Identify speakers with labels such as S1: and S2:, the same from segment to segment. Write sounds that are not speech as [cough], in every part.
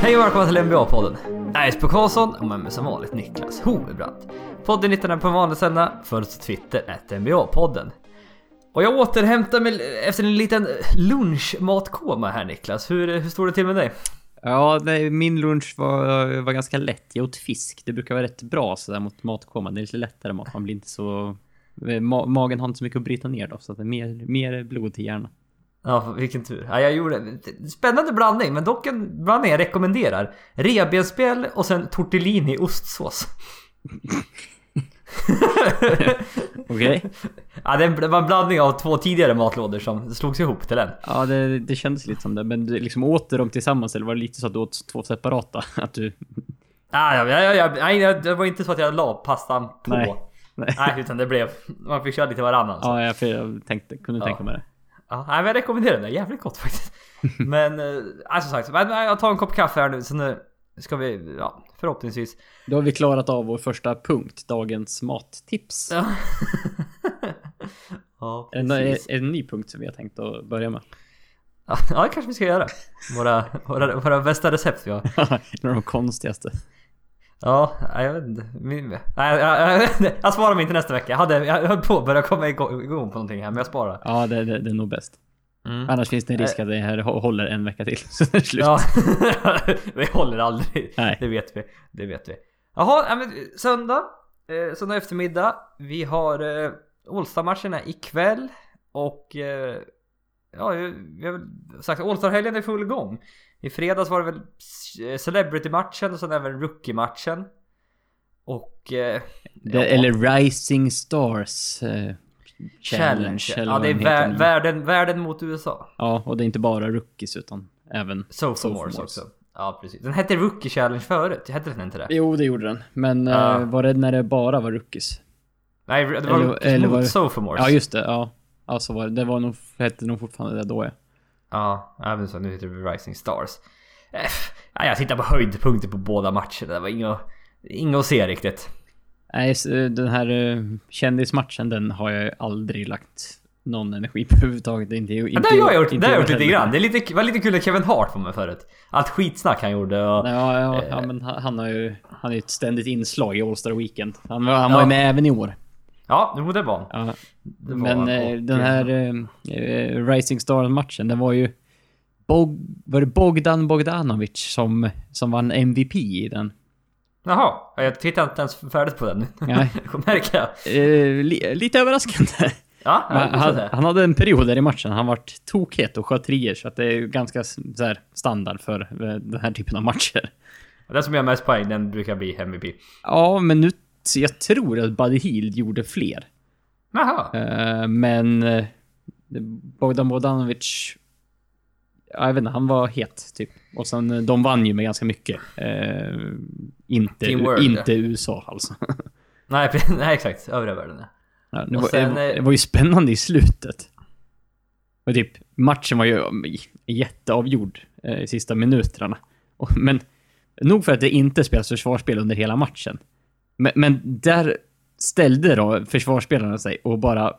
S1: Hej och välkomna till NBA-podden. Jag är Jesper Karlsson och med mig som vanligt Niklas Hovebrant. Podden hittar ni på vanligt sända, följ oss på Twitter, NBA-podden. Och jag återhämtar mig efter en liten lunchmatkoma här Niklas. Hur, hur står det till med dig?
S2: Ja, nej, min lunch var, var ganska lätt. Jag åt fisk. Det brukar vara rätt bra sådär mot matkoma. Det är lite lättare mat. Man blir inte så... eh, Ma magen har inte så mycket att bryta ner då, så att det är mer, mer blod till hjärnan.
S1: Ja, vilken tur. Ja, jag gjorde... Spännande blandning, men dock en blandning jag rekommenderar. Revbensspjäll och sen tortellini i ostsås.
S2: Okej?
S1: Ja, det var en blandning av två tidigare matlådor som slogs ihop till en.
S2: [laughs] Ja, det, det kändes lite som det. Men du liksom åt du dem tillsammans eller var det lite så att du åt två separata? [laughs] Att du...
S1: Ah, ja, ja, ja, ja, nej, nej, det var inte så att jag la pastan på. Nej.
S2: Nej. Nej.
S1: utan det blev... Man fick köra lite varannan. så.
S2: Ja, jag, för jag tänkte, kunde tänka mig det.
S1: Ja, nej, men jag rekommenderar den. Jävligt gott
S2: [laughs]
S1: faktiskt. Men, eh, nej, som sagt. Men, nej, jag tar en kopp kaffe här nu. Sen eh, ska vi, ja, förhoppningsvis.
S2: Då har vi klarat av vår första punkt, dagens mattips.
S1: Ja. [laughs] ja,
S2: En, en,
S1: precis.
S2: en ny punkt som vi har tänkt att börja med.
S1: Ja, det kanske vi ska göra. Våra, våra, våra bästa recept vi har.
S2: [laughs] en av de konstigaste.
S1: Ja, nej, jag vet inte. Min, nej, jag, jag, jag, jag sparar mig inte nästa vecka. Jag, hade, jag höll på att börja komma igång igång på någonting här, men jag sparar.
S2: Ja, det, det, det är nog bäst.
S1: Mm.
S2: Annars finns det en risk att det här hå- håller en vecka till. [laughs] Så är det slut.
S1: Ja, [laughs] det håller aldrig.
S2: Nej.
S1: Det vet vi. Det vet vi. Jaha, ja, men söndag. Eh, söndag eftermiddag. Vi har eh, All-Star-matcherna ikväll. Och eh, ja, vi har väl sagt All-Star-helgen är i full gång. I fredags var det väl eh, Celebrity-matchen och sen även Rookie-matchen. Och... Eh,
S2: det,
S1: ja.
S2: Eller Rising Stars eh, Challenge. eller
S1: Ja,
S2: vad
S1: det är
S2: den heter
S1: vär,
S2: nu.
S1: världen, världen mot USA.
S2: Ja, och det är inte bara rookies utan även...
S1: Sophomores
S2: Sophomores.
S1: också. Ja, precis. Den hette Rookie Challenge förut. Hette den inte det?
S2: Jo, det gjorde den. Men
S1: Ja.
S2: eh, var det när det bara var rookies?
S1: Nej, det var
S2: Eller-
S1: eller,
S2: eller
S1: mot
S2: var det-
S1: Sophomores.
S2: Ja, just det. Ja, ja så var det. Det var nog, hette nog fortfarande det då, ja.
S1: Ja, även så. Nu heter det Rising Stars. Eh, ja, jag tittar på höjdpunkter på båda matcherna. Det var inget, inget att se riktigt.
S2: Nej, s- eh, den här eh, kändismatchen, den har jag ju aldrig lagt någon energi på [laughs] överhuvudtaget. Inte, inte,
S1: Men det har jag gjort, det har jag gjort lite
S2: heller.
S1: grann. Det är lite, var lite kul att Kevin Hart var med förut. Allt skitsnack han gjorde och...
S2: Ja, ja, ja
S1: Eh.
S2: men han, han har ju han är ju ett ständigt inslag i All Star Weekend. Han, var- han var
S1: Ja.
S2: ju med även i år.
S1: Ja, jo det var han.
S2: Ja.
S1: Det var
S2: Men
S1: han.
S2: eh,
S1: Och,
S2: den här eh, eh, Rising Star-matchen, den var ju... Bog, var det Bogdan Bogdanovic som, som vann MVP i den?
S1: Jaha, ja, jag tittar inte ens färdigt på den. [laughs]
S2: Nej.
S1: Märker jag.
S2: Eh, li, lite överraskande.
S1: Ja, ja,
S2: Men
S1: det får jag
S2: han,
S1: säga.
S2: han hade en period där i matchen, han vart tokhet och sköt treor, så att det är ju ganska s- så här, standard för eh, den här typen av matcher.
S1: Den som gör mest poäng den brukar bli MVP.
S2: Ja, men nu... så Jag tror att Buddy Hield gjorde fler.
S1: Jaha.
S2: Eh, men eh, Bogdan Bogdanovic... ja, Jag vet inte, han var het typ. Och sen eh, de vann ju med ganska mycket. Eh, inte
S1: Team World,
S2: inte USA alltså.
S1: Nej, [laughs] pre- nej exakt. Övriga världen ja.
S2: Ja, det,
S1: Och
S2: var,
S1: sen,
S2: det, var,
S1: eh,
S2: det var ju spännande i slutet. Och typ, matchen var ju mm, jätteavgjord eh, i sista minuterna. Och, men nog för att det inte spelas försvarsspel under hela matchen. Men, men där ställde då försvarsspelarna sig och bara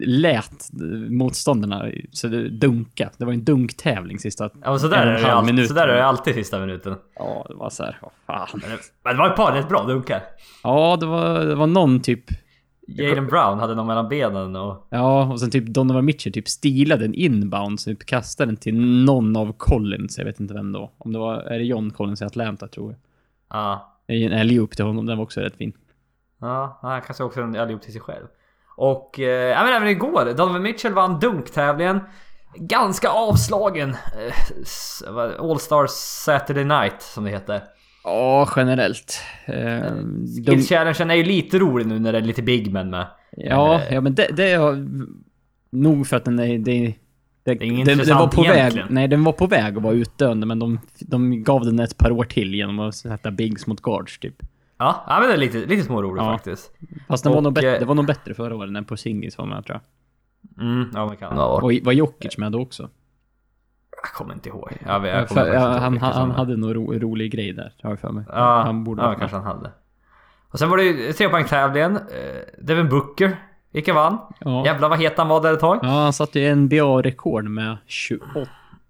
S2: lät eh, motståndarna så det dunka. Det var ju en dunktävling sista
S1: Ja, och sådär
S2: en
S1: är,
S2: och
S1: det
S2: en halv
S1: alltid,
S2: minut.
S1: sådär är det alltid sista minuten.
S2: Ja, det var så här, vad fan.
S1: Men det- Men det var ett par rätt bra dunkar.
S2: Ja, det var, det var någon typ
S1: Jaden Brown hade någon mellan benen och...
S2: Ja, och sen typ Donovan Mitchell typ stilade en inbound, så typ kastade den till någon av Collins, jag vet inte vem då. Om det var, är det John Collins i Atlanta tror jag.
S1: Ja.
S2: Det är En alley-oop till honom, den var också rätt fin.
S1: Ja, han kanske också en allihop till sig själv. Och... Eh, ja, men även igår. Donovan Mitchell vann dunktävlingen. Ganska avslagen. Eh, s- vad- All Stars Saturday Night som det heter.
S2: Ja, generellt. Ehm, de,
S1: Skill-challengen är ju lite rolig nu när det är lite big men med.
S2: ja, ja, men det, det är nog för att den är... Det, det,
S1: är ingen
S2: den, den var
S1: intressant
S2: på väg,
S1: egentligen.
S2: Nej, den var på väg att vara utdöende, men de, de gav den ett par år till genom att sätta bigs mot guards typ.
S1: Ja, ja men det är lite, lite småroligt
S2: Ja.
S1: faktiskt.
S2: Fast den var
S1: Och,
S2: nog
S1: eh,
S2: bättre, det var nog bättre förra året när Porzingis var med tror jag.
S1: Mm, ja man kan. Ja.
S2: Och var Jokic med då också?
S1: Jag kommer inte ihåg. Jag, vet-
S2: Ja,
S1: jag kommer
S2: för,
S1: faktiskt
S2: ja,
S1: inte
S2: han,
S1: ihåg
S2: han,
S1: vilka som-
S2: han hade nog ro, rolig grej där, har jag för mig.
S1: Ja,
S2: han borde
S1: ja
S2: varit
S1: kanske
S2: med.
S1: han hade. Och sen var det ju trepoängstävlingen. Eh, Devin Booker gick och vann.
S2: Ja.
S1: Jävlar vad het han var där ett tag.
S2: ja, han satte ju NBA-rekord med 28,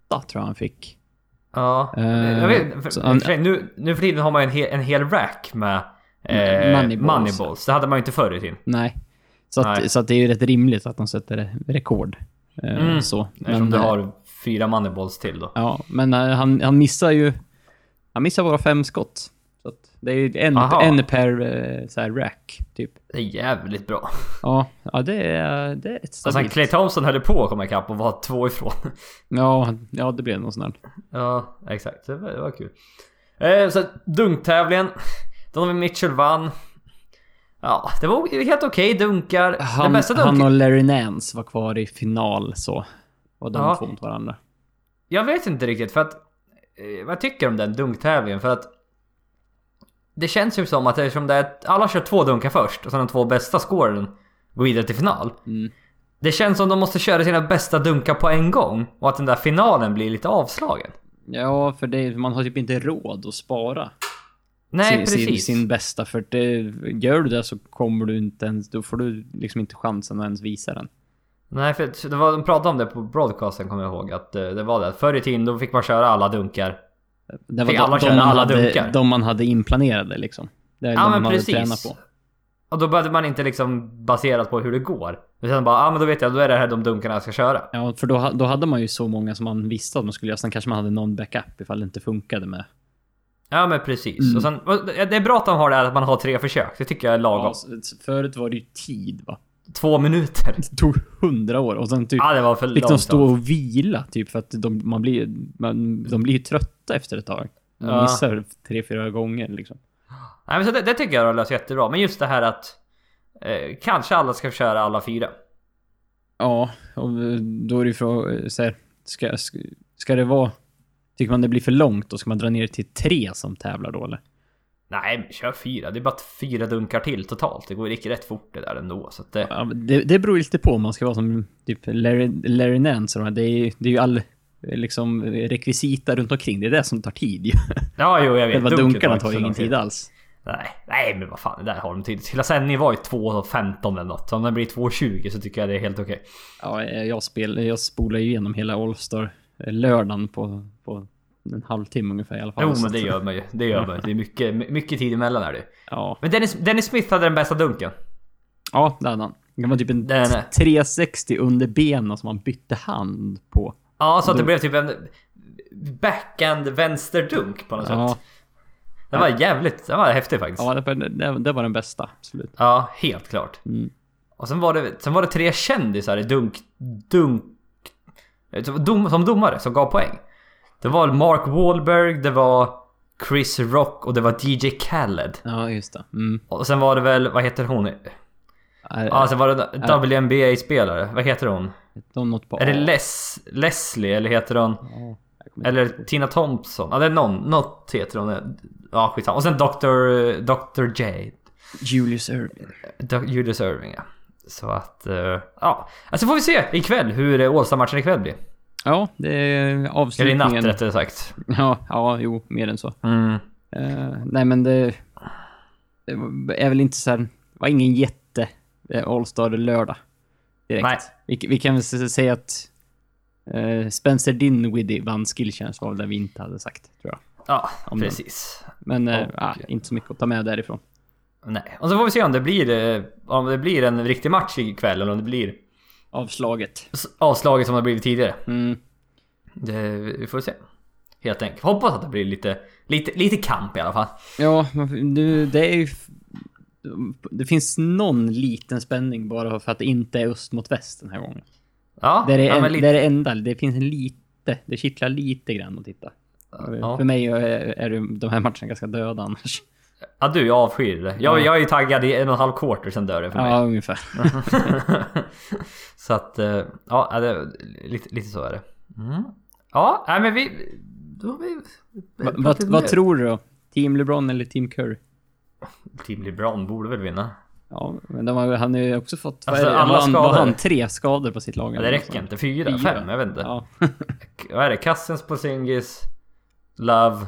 S2: tror jag han fick.
S1: Ja,
S2: Eh,
S1: jag vet, för,
S2: så han-
S1: för sig, nu, nu för tiden har man ju en hel, en hel rack med eh,
S2: Moneyballs.
S1: moneyballs. Det hade man ju inte förr i tiden.
S2: Nej. Så, att,
S1: Nej.
S2: så att det är ju rätt rimligt att de sätter rekord. Eh,
S1: Mm.
S2: Så.
S1: Eftersom du
S2: eh,
S1: har fyra moneyballs till då.
S2: Ja, men eh, han, han missar ju... Han missar bara fem skott. Så att det är ju en,
S1: Aha.
S2: en per eh, så här, rack, typ.
S1: Det är jävligt bra.
S2: Ja, ja det, är, det är ett
S1: Alltså
S2: stabilt.
S1: Clay Thompson höll på att komma ikapp och var två ifrån. [laughs]
S2: ja, ja, det blir någon sån där.
S1: ja, exakt. Det var, det var kul. Eh, så dunktävlingen. Donovan Mitchell vann. Ja, det var helt okej dunkar. Den
S2: Han,
S1: bästa
S2: han
S1: dunken...
S2: och Larry Nance var kvar i final så. Och de
S1: Ja.
S2: två mot varandra.
S1: Jag vet inte riktigt för att... Eh, vad jag tycker om den dunktävlingen? För att... Det känns ju som att eftersom det är... Alla kör två dunkar först och sen de två bästa scoren går vidare till final.
S2: Mm.
S1: Det känns som de måste köra sina bästa dunkar på en gång och att den där finalen blir lite avslagen.
S2: Ja, för det, man har typ inte råd att spara
S1: Nej,
S2: sin, sin,
S1: precis.
S2: sin bästa. För det, gör du det så kommer du inte ens... Då får du liksom inte chansen att ens visa den.
S1: Nej, för det var, de pratade om det på broadcasten kommer jag ihåg. Att eh, det var det. Förr i tiden då fick man köra alla dunkar.
S2: Det var
S1: Fick
S2: de,
S1: alla
S2: de,
S1: köra
S2: man
S1: alla
S2: hade,
S1: dunkar?
S2: de man hade inplanerade liksom. Det är
S1: Ja, men
S2: de man hade
S1: precis.
S2: tränat på.
S1: Och då behövde man inte liksom baserat på hur det går. Utan bara, ja ah, men då vet jag, då är det här de dunkarna jag ska köra.
S2: Ja, för då, ha- då hade man ju så många som man visste att man skulle göra. Sen kanske man hade någon backup ifall det inte funkade med.
S1: Ja men precis.
S2: Mm.
S1: Och sen, och det det är bra att de har det här att man har tre försök. Det tycker jag är lagom.
S2: Ja, s- förut var det ju tid va.
S1: Två
S2: [laughs]
S1: minuter.
S2: Det tog hundra år och sen typ
S1: Ja det var för
S2: fick de
S1: långsamt.
S2: stå och vila typ för att de, man blir, man, de blir ju trötta efter ett tag. De
S1: Ja.
S2: missar tre, fyra gånger liksom.
S1: Nej, men så det, det tycker jag de har löst jättebra. Men just det här att eh, kanske alla ska köra alla fyra.
S2: Ja, och då är det ju frågan, så här, ska, ska, ska det vara... Tycker man det blir för långt då? Ska man dra ner till tre som tävlar då eller?
S1: Nej men kör fyra. Det är bara fyra dunkar till totalt. Det går ju rätt fort det där ändå. Så att det,
S2: Ja, men det, det beror ju lite på om man ska vara som typ Larry, Larry Nance och de här. det är, ju- det är ju all eh, liksom rekvisita runt omkring. Det är det som tar tid ju.
S1: ja jo jag vet.
S2: Själva
S1: Dunken
S2: dunkarna
S1: inte
S2: tar
S1: så
S2: ju
S1: lång
S2: ingen tid alls.
S1: Nej, nej men vad fan det där har de tid till. Hela sändningen var ju 2.15 eller något. Så om den blir 2.20 så tycker jag det är helt okej.
S2: Ja, eh, jag, spel, jag spolar ju igenom hela All-Star eh, lördagen på, på en halvtimme ungefär i alla fall.
S1: Jo
S2: Så
S1: men
S2: att-
S1: det gör man ju. Det gör man ju. Det är mycket, mycket tid emellan är det ju.
S2: Ja,
S1: Men Dennis, Dennis Smith hade den bästa dunken.
S2: ja det hade han. Det var typ en
S1: Den är-
S2: 360 under benen som han bytte hand på.
S1: Ja, så att det blev typ en backhand vänsterdunk på något
S2: Ja,
S1: sätt. Det var jävligt, det var häftigt faktiskt. Ja,
S2: ja det, var, det, det var den bästa. Absolut.
S1: helt klart.
S2: Mm.
S1: Och sen var det, sen var det tre kändisar i dunk, dunk, som dom, som domare som gav poäng. Det var Mark Wahlberg, det var Chris Rock och det var DJ Khaled.
S2: Ja, just det. Mm.
S1: Och sen var det väl, vad heter hon? Ja, sen var det
S2: Äh,
S1: WNBA-spelare. Vad heter hon?
S2: De något på
S1: Är det
S2: A.
S1: Les, Leslie eller heter hon?
S2: Ja, jag kommer inte
S1: Eller Tina Thompson. Ja, det är någon. Något heter hon. Ja, skitsamma. Och sen Dr. Dr. J.
S2: Julius Irving.
S1: Dr. Julius Irving, ja. Så att... eh, ja. Alltså får vi se ikväll hur eh, All-Star-matchen ikväll blir.
S2: Ja, det är
S1: Eller i
S2: avslutningen.
S1: natt rättare sagt.
S2: Ja, ja, jo, mer än så.
S1: Mm.
S2: Eh, nej, men det, det är väl inte så här... Det var ingen jätte eh, All-Star lördag. Direkt.
S1: Nej.
S2: Vi, vi kan väl s- s- säga att eh, Spencer Dinwiddie vann skillchance var väl det vi inte hade sagt, tror jag.
S1: Ja,
S2: Om den.
S1: precis.
S2: Men eh,
S1: Och-
S2: ah, inte så mycket att ta med därifrån.
S1: Nej. Och så får vi se om det blir, eh, om det blir en riktig match ikväll eller om det blir
S2: Avslaget.
S1: s- avslaget som det har blivit tidigare.
S2: Mm.
S1: Det, vi får se. Helt enkelt. Hoppas att det blir lite, lite, lite kamp i alla fall.
S2: Ja, man- nu, det är ju... f- Det finns någon liten spänning bara för att det inte är öst mot väst den här gången.
S1: Ja,
S2: Det är det,
S1: ja,
S2: en,
S1: men lite-
S2: det, är det enda. Det finns en lite. Det kittlar lite grann att titta.
S1: Ja.
S2: För mig är, är det- de här matterna ganska döda annars.
S1: Ja du, jag avskyr det. Jag,
S2: Ja.
S1: jag är ju taggad i en och en halv quarter sen dör det för mig.
S2: Ja, ungefär.
S1: [laughs] så att, eh, ja, det, lite, lite så är det. Mm. Ja, nej men vi... Då har vi
S2: Va- Vad vad tror du då? Team LeBron eller Team Curry?
S1: Team LeBron borde väl vinna?
S2: Ja, men de har, han har ju också fått...
S1: Alltså,
S2: vad är det?
S1: alla
S2: var, han, var
S1: skador.
S2: han tre skador på sitt lag?
S1: Ja, det räcker inte. Fyra,
S2: Fyra.
S1: fem, jag vet inte.
S2: Ja.
S1: K- Vad är det? Cousins, Porzingis, Love.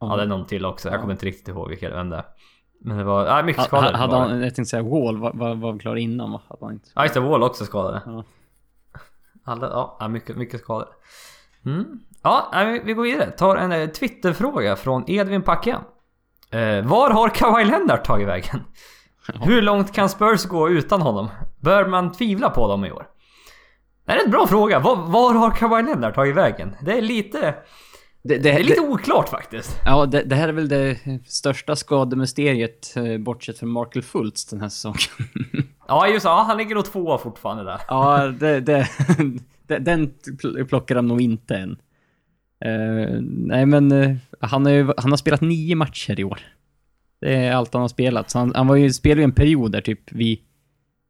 S1: Ja, det är någon till också. Jag kommer inte riktigt ihåg vilka vem det är. Men det var... Nej, mycket
S2: Ha-
S1: skador.
S2: ha- Hade
S1: var det.
S2: han, jag tänkte säga Wall, var, var, var klar innan va? Hade han inte.
S1: Ja just det, Wall också skadade.
S2: Ja.
S1: Alla, ja, mycket, mycket skadade. Mm. Ja, nej, vi- vi går vidare. Tar en eh, Twitterfråga från Edvin Packa. Eh, var har Kawhi Leonard tagit vägen? Hur långt kan Spurs gå utan honom? Bör man tvivla på dem i år? Det här är en bra fråga. Var, var har Kawhi Leonard tagit vägen? Det är lite,
S2: Det, det,
S1: det är
S2: Eh, det,
S1: lite oklart faktiskt.
S2: ja, det, det här är väl det största skademysteriet eh, bortsett från Markel Fultz den här säsongen.
S1: Ja, just det. Ja, han ligger nog tvåa fortfarande där.
S2: ja, det, det, [laughs] det, den pl- plockar de nog inte än. Eh, nej, men eh, han, har ju, han har spelat nio matcher i år. Det är allt han har spelat. Så han, han var ju, spelade ju en period där typ vi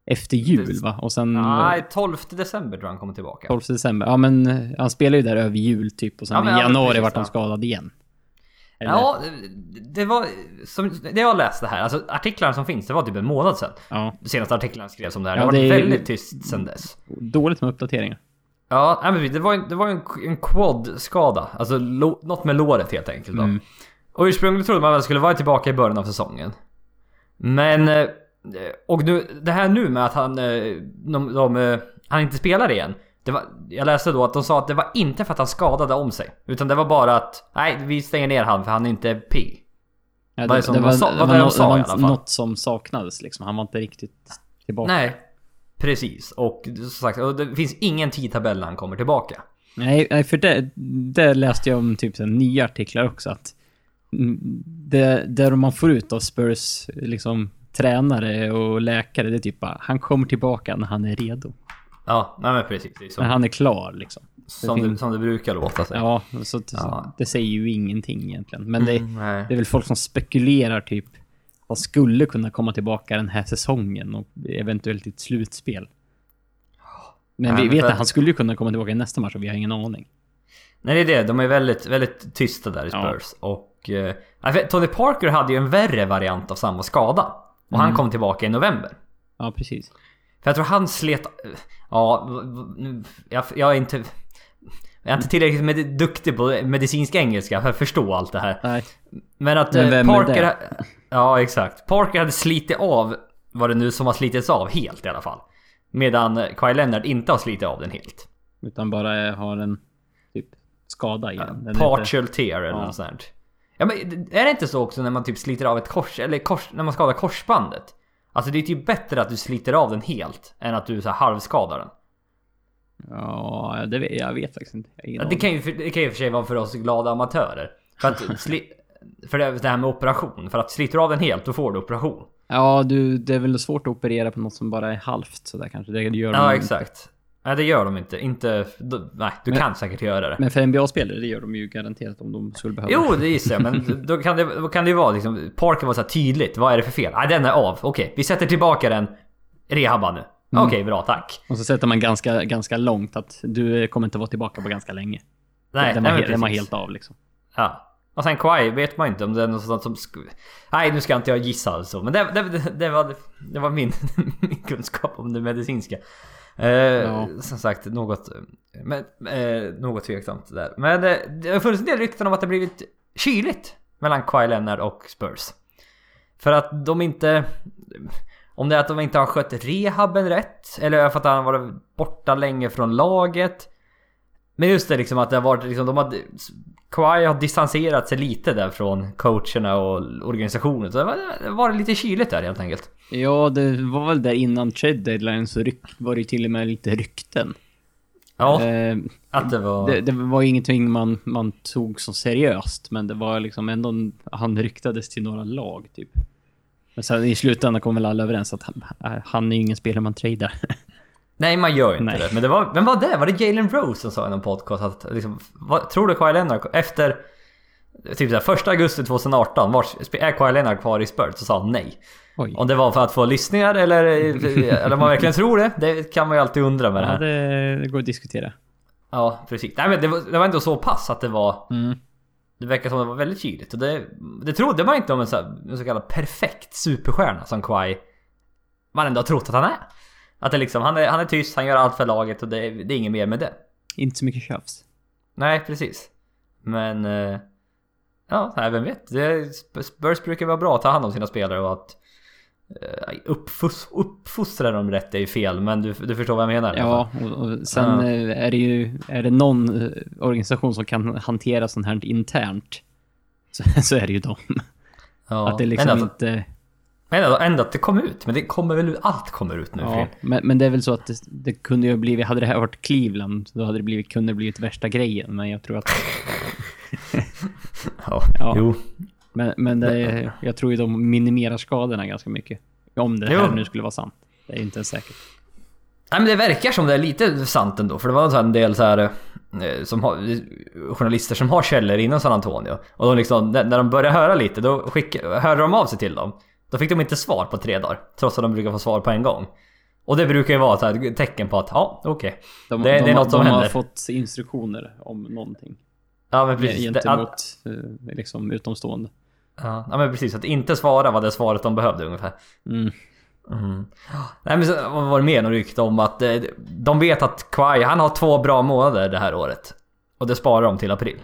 S2: efter jul va? Och sen...
S1: Nej, 12 december tror jag han kommer tillbaka.
S2: 12 december. Ja, men eh, han spelar ju där över jul typ och sen
S1: Ja, men
S2: i
S1: ja,
S2: januari
S1: precis,
S2: vart han
S1: ja.
S2: skadad igen. Eller?
S1: Ja, det var... Som, det jag läste här, alltså artiklarna som finns, det var typ en månad sedan.
S2: ja.
S1: Senaste artiklarna skrevs om det här.
S2: Ja,
S1: det har
S2: det
S1: varit
S2: är ju-
S1: väldigt tyst sedan dess.
S2: Dåligt med uppdateringar.
S1: Ja, nej, men det var ju det var ju en, en quad-skada. Alltså lo, något med låret helt enkelt. Då.
S2: Mm.
S1: Och ursprungligen trodde man väl skulle vara tillbaka i början av säsongen. Men... eh, Och nu, det här nu med att han... eh, De, de, eh, han inte spelar igen. Det var, jag läste då att de sa att det var inte för att han skadade om sig. Utan det var bara att... Nej, vi stänger ner han för han är inte pigg.
S2: Ja,
S1: Vad är som de sa- vad är det de
S2: nå-
S1: sa i
S2: var
S1: alla fall?
S2: något som saknades liksom. Han var inte riktigt tillbaka. Nej,
S1: Nej. Precis. Och som sagt, och det finns ingen tidtabell när han kommer tillbaka.
S2: nej, för det, det läste jag om typ så här nya artiklar också. Att mm, det, det man får ut av Spurs liksom, tränare och läkare, det är typ bara han kommer tillbaka när han är redo.
S1: Ja, nej men precis. Det är
S2: När
S1: som,
S2: han är klar liksom.
S1: som, det, som det brukar låta sig.
S2: Ja, så, att-
S1: Ja. Mm.
S2: det säger ju ingenting egentligen. Men det,
S1: Nej.
S2: Det är väl folk som spekulerar typ vad skulle kunna komma tillbaka den här säsongen och eventuellt i ett slutspel. Men
S1: Ja,
S2: vi
S1: men
S2: vet
S1: för-
S2: att han skulle ju kunna komma tillbaka i nästa match och vi har ingen aning.
S1: Nej det är det, de är väldigt, väldigt tysta där i
S2: Ja.
S1: Spurs. Och... Eh, nej, för Tony Parker hade ju en värre variant av samma skada. Och
S2: Mm.
S1: han kom tillbaka i november.
S2: Ja, precis.
S1: För jag tror han slet... Ja, v- v- nu- jag, jag är inte... Jag är inte tillräckligt med, duktig på medicinsk engelska för att förstå allt det här.
S2: Nej.
S1: Men att
S2: Men
S1: eh,
S2: vem är
S1: Parker... Ja, exakt. Parker hade slitit av vad det nu som har slitits av helt i alla fall. Medan eh, Kawhi Leonard inte har slitit av den helt.
S2: Utan bara eh, har en typ skada i den. Den är inte-
S1: Partial tear eller
S2: Ja.
S1: något sånt. här. Ja, men är det inte så också när man typ sliter av ett kors... Eller kors, när man skadar korsbandet? Alltså det är typ bättre att du sliter av den helt än att du så här halvskadar den.
S2: Ja, det vet, jag vet faktiskt inte. Jag har
S1: Ja,
S2: ingen
S1: Det
S2: aning.
S1: kan ju det kan ju i och för sig vara för oss glada amatörer. För, att sli, [laughs] för det det här med operation. För att sliter du av den helt då får du operation.
S2: Ja, du, det är väl svårt att operera på något som bara är halvt sådär kanske. Det gör
S1: Ja
S2: de,
S1: exakt. Nej det gör de inte. inte d- nej, du kan säkert göra det.
S2: Men för NBA-spelare, det gör de ju garanterat om de skulle behöva.
S1: Jo det gissar jag men då kan det, då kan det ju vara liksom. Parken var så här tydligt. Vad är det för fel? Nej den är av. Okej vi sätter tillbaka den. Rehabba nu.
S2: Mm.
S1: Okej bra tack.
S2: Och så sätter man ganska, ganska långt att du eh, kommer inte vara tillbaka på ganska länge.
S1: Nej,
S2: den,
S1: nej
S2: var,
S1: men
S2: he- den var
S1: precis.
S2: helt av liksom.
S1: Ja. Och sen Kawhi vet man inte om det är något sånt som... sk- Nej nu ska inte jag gissa alltså. Men det, det, det var, det var min, [laughs] min kunskap om det medicinska. Eh,
S2: Ja.
S1: Som sagt något... Men, eh, något tveksamt där. Men eh, det har funnits en del rykten om att det blivit kyligt mellan Kawhi Leonard och Spurs. För att de inte... Om det är att de inte har skött rehaben rätt. Eller för att han har varit borta länge från laget. Men just det liksom att det har varit liksom, de har... Kawhi har distanserat sig lite där från coacherna och organisationen. Så det var, det var lite kyligt där helt enkelt.
S2: Ja, det var väl där innan trade deadline så ryk, var det ju till och med lite rykten.
S1: Ja,
S2: Eh,
S1: att det var...
S2: det, det var ju ingenting man, man tog som seriöst, men det var liksom ändå... en- Han ryktades till några lag, typ. Men sen i slutändan kom väl alla överens att han, äh, han är ju ingen spelare
S1: [laughs]
S2: man tradar.
S1: nej, man gör ju inte
S2: Nej.
S1: det. Men det var... Vem var det? Var det Jalen Rose som sa i någon podcast att liksom... Vad, tror du Kawhi Leonard efter... Typ såhär, första augusti 2018, vars, är Kawhi Leonard kvar i Spurs? Så sa han nej.
S2: Oj.
S1: Om det var för att få lyssningar eller, eller om man verkligen tror det. Det kan man ju alltid undra med det
S2: Ja,
S1: här.
S2: det, det går att diskutera.
S1: Ja, precis. Nej men det var, det var ändå så pass att det var...
S2: Mm.
S1: Det verkar som det var väldigt kyligt och det, det trodde man inte om en så, här, en så kallad perfekt superstjärna som Kawhi man ändå har trott att han är. Att det liksom, han är, han är tyst, han gör allt för laget och det, det är inget mer med det.
S2: Inte så mycket tjafs.
S1: Nej, precis. Men... eh, Ja, nej, vem vet? Det, Spurs brukar vara bra att ta hand om sina spelare och att... eh, uppfos- uppfostra dem rätt är ju fel, men du, du förstår vad jag menar? i alla fall.
S2: Ja, och, och sen
S1: Ja.
S2: eh, är det ju, är det någon eh, organisation som kan hantera sånt här internt, så, [laughs] så är det ju dem.
S1: Alltså, Ja.
S2: Att det liksom
S1: ändå,
S2: inte...
S1: men alltså, ändå, ändå att det kom ut, men det kommer väl, allt kommer ut nu för
S2: Ja,
S1: tiden.
S2: men, men det är väl så att det, det kunde ju ha blivit, hade det här varit Cleveland, då hade det blivit, kunde det blivit värsta grejen. Men jag tror att,
S1: ja.
S2: Ja.
S1: Jo.
S2: men, men det, är- jag tror ju de minimerar skadorna ganska mycket. Om det här
S1: Jo.
S2: nu skulle vara sant. Det är ju inte ens säkert.
S1: Nej men det verkar som det är lite sant ändå, för det var så här en del så här eh, som har, journalister som har källor inom San Antonio. Och de liksom, när när de börjar höra lite, då skicka, hörde de av sig till dem. Då fick de inte svar på tre dagar, trots att de brukar få svar på en gång. Och det brukar ju vara så här, ett tecken på att ja, okej.
S2: De,
S1: Det- det är
S2: de, har-
S1: något som
S2: de har
S1: händer.
S2: fått instruktioner om någonting.
S1: Ja men precis. Det,
S2: Gentemot
S1: att,
S2: eh, liksom, utomstående.
S1: ja, ja men precis, att inte svara var det svaret de behövde ungefär.
S2: Mm.
S1: Mm. Nej men så vad var det mer de rykte om att eh, de vet att Kwai, han har två bra månader det här året. Och det sparar de till april.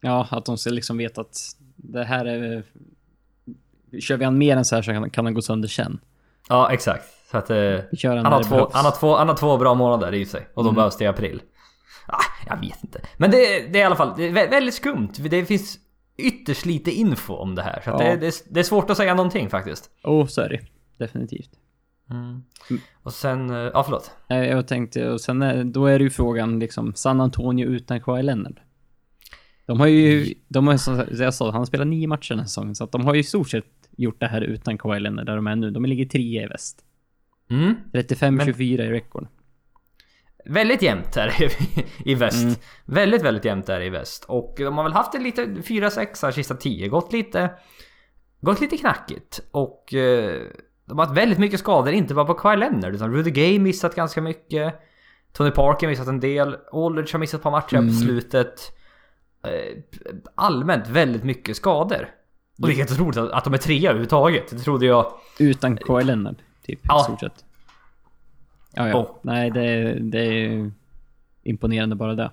S2: Ja, att de ska liksom veta att det här är... Kör vi han mer än så här så kan, kan han gå sönder sen.
S1: Ja, exakt. Så att, eh,
S2: Vi kör han
S1: han,
S2: när
S1: har
S2: det
S1: två,
S2: behövs.
S1: han, har två, han har två bra månader i sig och de
S2: Mm.
S1: behövs det i april. Ah, jag vet inte. Men det, det är i alla fall det är vä- väldigt skumt. Det finns ytterst lite info om det här. Så att
S2: Ja.
S1: det, det, är- det är svårt att säga någonting faktiskt.
S2: Oh, så är det. Definitivt. Mm.
S1: Och sen, eh, ja förlåt.
S2: Nej, Jag tänkte, och sen är, då är det ju frågan liksom, San Antonio utan Kawhi Leonard. De har ju, de har ju som jag sa, han spelar nio matcher den här säsongen, så att de har ju i stort sett gjort det här utan Kawhi Leonard där de är nu. De ligger trea i väst.
S1: Mm.
S2: 35-24 i rekord.
S1: Väldigt jämnt här i- i väst. Väldigt, väldigt jämnt här i väst. Och de har väl haft en lite 4-6 här sista 10. Gått lite, gått lite knackigt. Och eh, de har haft väldigt mycket skador, inte bara på Kyle Leonard utan Rudy Gay missat ganska mycket. Tony Parker missat en del. Aldridge har missat ett par matcher här på
S2: Mm.
S1: slutet. Eh, Allmänt väldigt mycket skador. Och det är helt otroligt att- att de är trea överhuvudtaget. Det trodde jag...
S2: Utan Kawhi Leonard, typ,
S1: Ja.
S2: i stort sett. Ja, ja.
S1: Och-
S2: Nej, det, det är ju imponerande bara det.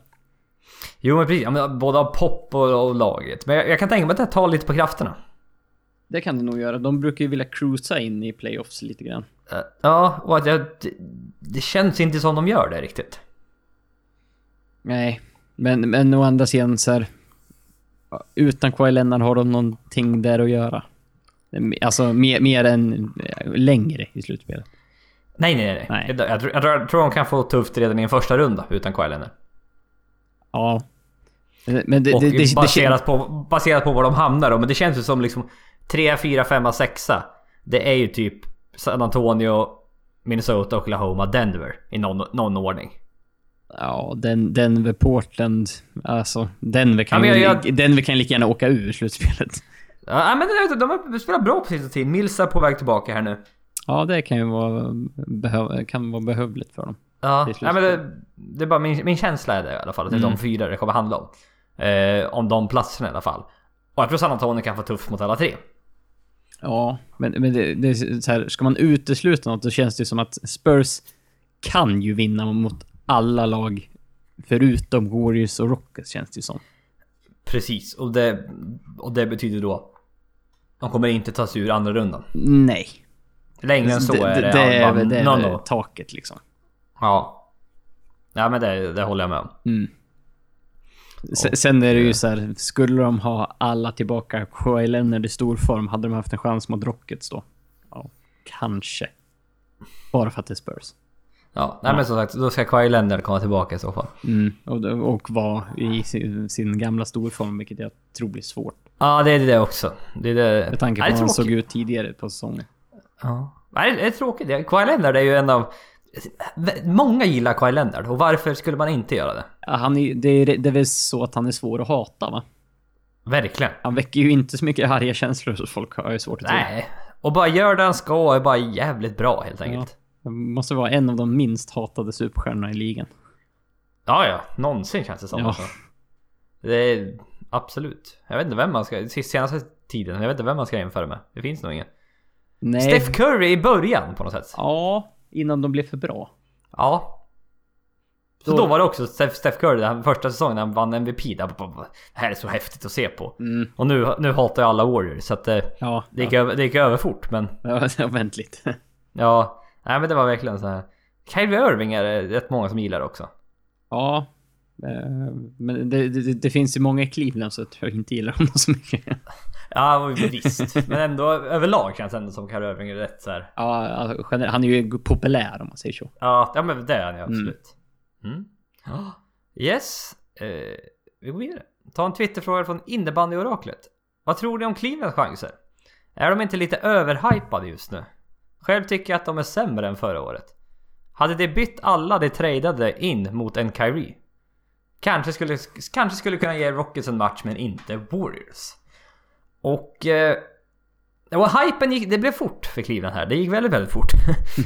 S1: Jo men precis, Ja, men både av Pop och, och laget. Men jag, jag kan tänka mig att det här tar lite på krafterna.
S2: Det kan det nog göra. De brukar ju vilja cruisa in i playoffs lite grann.
S1: Eh, Ja, och att jag, det, det känns inte som de gör det riktigt.
S2: Nej, men, men å andra sidan så här, Utan Kawhi Leonard har de någonting där att göra. Alltså mer, mer än eh, längre i slutspelet.
S1: Nej, nej, nej.
S2: Nej.
S1: Jag, jag, tror- jag, tror- jag tror de kan få tufft redan i en första runda utan Kyle Leonard.
S2: Ja. Eh, Men det,
S1: Och
S2: det, det, det,
S1: baserat, på, baserat på var de hamnar då. Men det känns ju som liksom 3, 4, 5, 6. Det är ju typ San Antonio, Minnesota, Oklahoma, Denver i någon, någon ordning.
S2: ja, den, Denver, Portland. Alltså, Denver kan,
S1: Ja, men
S2: ju
S1: jag-
S2: li- Denver kan lika gärna åka ur slutspelet.
S1: Ja, men jag vet inte, de har spelat bra på sista tiden. Mills är på väg tillbaka här nu.
S2: Ja, det kan ju vara, behöv, kan vara behövligt för dem.
S1: Ja,
S2: Det är Mm.
S1: nej, men det, det är bara min, min känsla är det i alla fall. Att det är de fyra det kommer handla om. Eh, om de platserna i alla fall. Och jag tror San Antonio kan få tufft mot alla tre.
S2: Ja, men, men det, det är så här, ska man utesluta något då känns det ju som att Spurs kan ju vinna mot alla lag förutom Warriors och Rockets känns det ju som.
S1: Precis, och det, och det betyder då... De kommer inte ta sig ur andra rundan.
S2: Nej.
S1: Längre än så
S2: det,
S1: är det,
S2: det, det är
S1: ja,
S2: väl- det är
S1: no,
S2: väl
S1: no.
S2: taket liksom.
S1: Ja. Ja men det, det håller jag med om.
S2: Sen, sen är det ju så här, skulle de ha alla tillbaka, Kawhi Leonard i stor form, hade de haft en chans mot Rockets då? Ja, kanske. Bara för att det är Spurs.
S1: Ja, nej men som sagt, då ska Kawhi Leonard komma tillbaka i så fall.
S2: Och, och vara i sin, sin gamla storform, vilket jag tror blir svårt.
S1: Ja, det är det också. Det är det.
S2: Med tanke på
S1: Nej,
S2: hur
S1: det är
S2: han
S1: tråkigt.
S2: såg ut tidigare på säsongen.
S1: Ja. Nej, det är tråkigt. Det- Kawhi Leonard är ju en av... Många gillar Kawhi Leonard och varför skulle man inte göra det?
S2: Ja, Han är, det, är, det är väl så att han är svår att hata va?
S1: Verkligen.
S2: Han väcker ju inte så mycket arga känslor så folk har ju svårt att tro.
S1: Nej. Och bara gör det han ska och är bara jävligt bra helt enkelt.
S2: Han måste vara en av de minst hatade superstjärnorna i ligan.
S1: Ja, ja. Någonsin känns det som.
S2: Ja.
S1: Alltså. Det är... Absolut. Jag vet inte vem man ska... sist- Senaste tiden, jag vet inte vem man ska jämföra med. Det finns nog ingen.
S2: Nej.
S1: Steph Curry i början på något sätt.
S2: Ja, innan de blev för bra.
S1: Ja. Så då var det också Steph Steph Curry, den första säsongen när han vann MVP. Där, bara, bara, det här är så häftigt att se på.
S2: Mm,
S1: Och nu, nu hatar jag alla Warriors så att eh,
S2: ja,
S1: det, gick
S2: ja,
S1: över, det gick över fort men
S2: ja, [laughs] vänt lite.
S1: ja. Nej men det var verkligen så här. Kyrie Irving är det rätt många som gillar också.
S2: Ja. eh, Men det, det, det finns ju många i Cleveland så jag tror jag inte gillar honom så mycket. [laughs]
S1: Ja men visst. men ändå överlag känns det ändå som Kyrie Irving är rätt så här.
S2: Ja, alltså, gener- han är ju populär om man säger så.
S1: Ja, ja men det är han ju absolut. Mm. [gasps] Ja. Yes. Eh, vi går vidare. Ta en Twitterfråga från innebandyoraklet. Vad tror ni om Clevelands chanser? Är de inte lite överhypade just nu? Själv tycker jag att de är sämre än förra året. Hade de bytt alla de tradade in mot en Kyrie? Kanske skulle, kanske skulle kunna ge Rockets en match men inte Warriors. Och... Eh, och hypen gick, det blev fort för Cleveland här. Det gick väldigt, väldigt fort.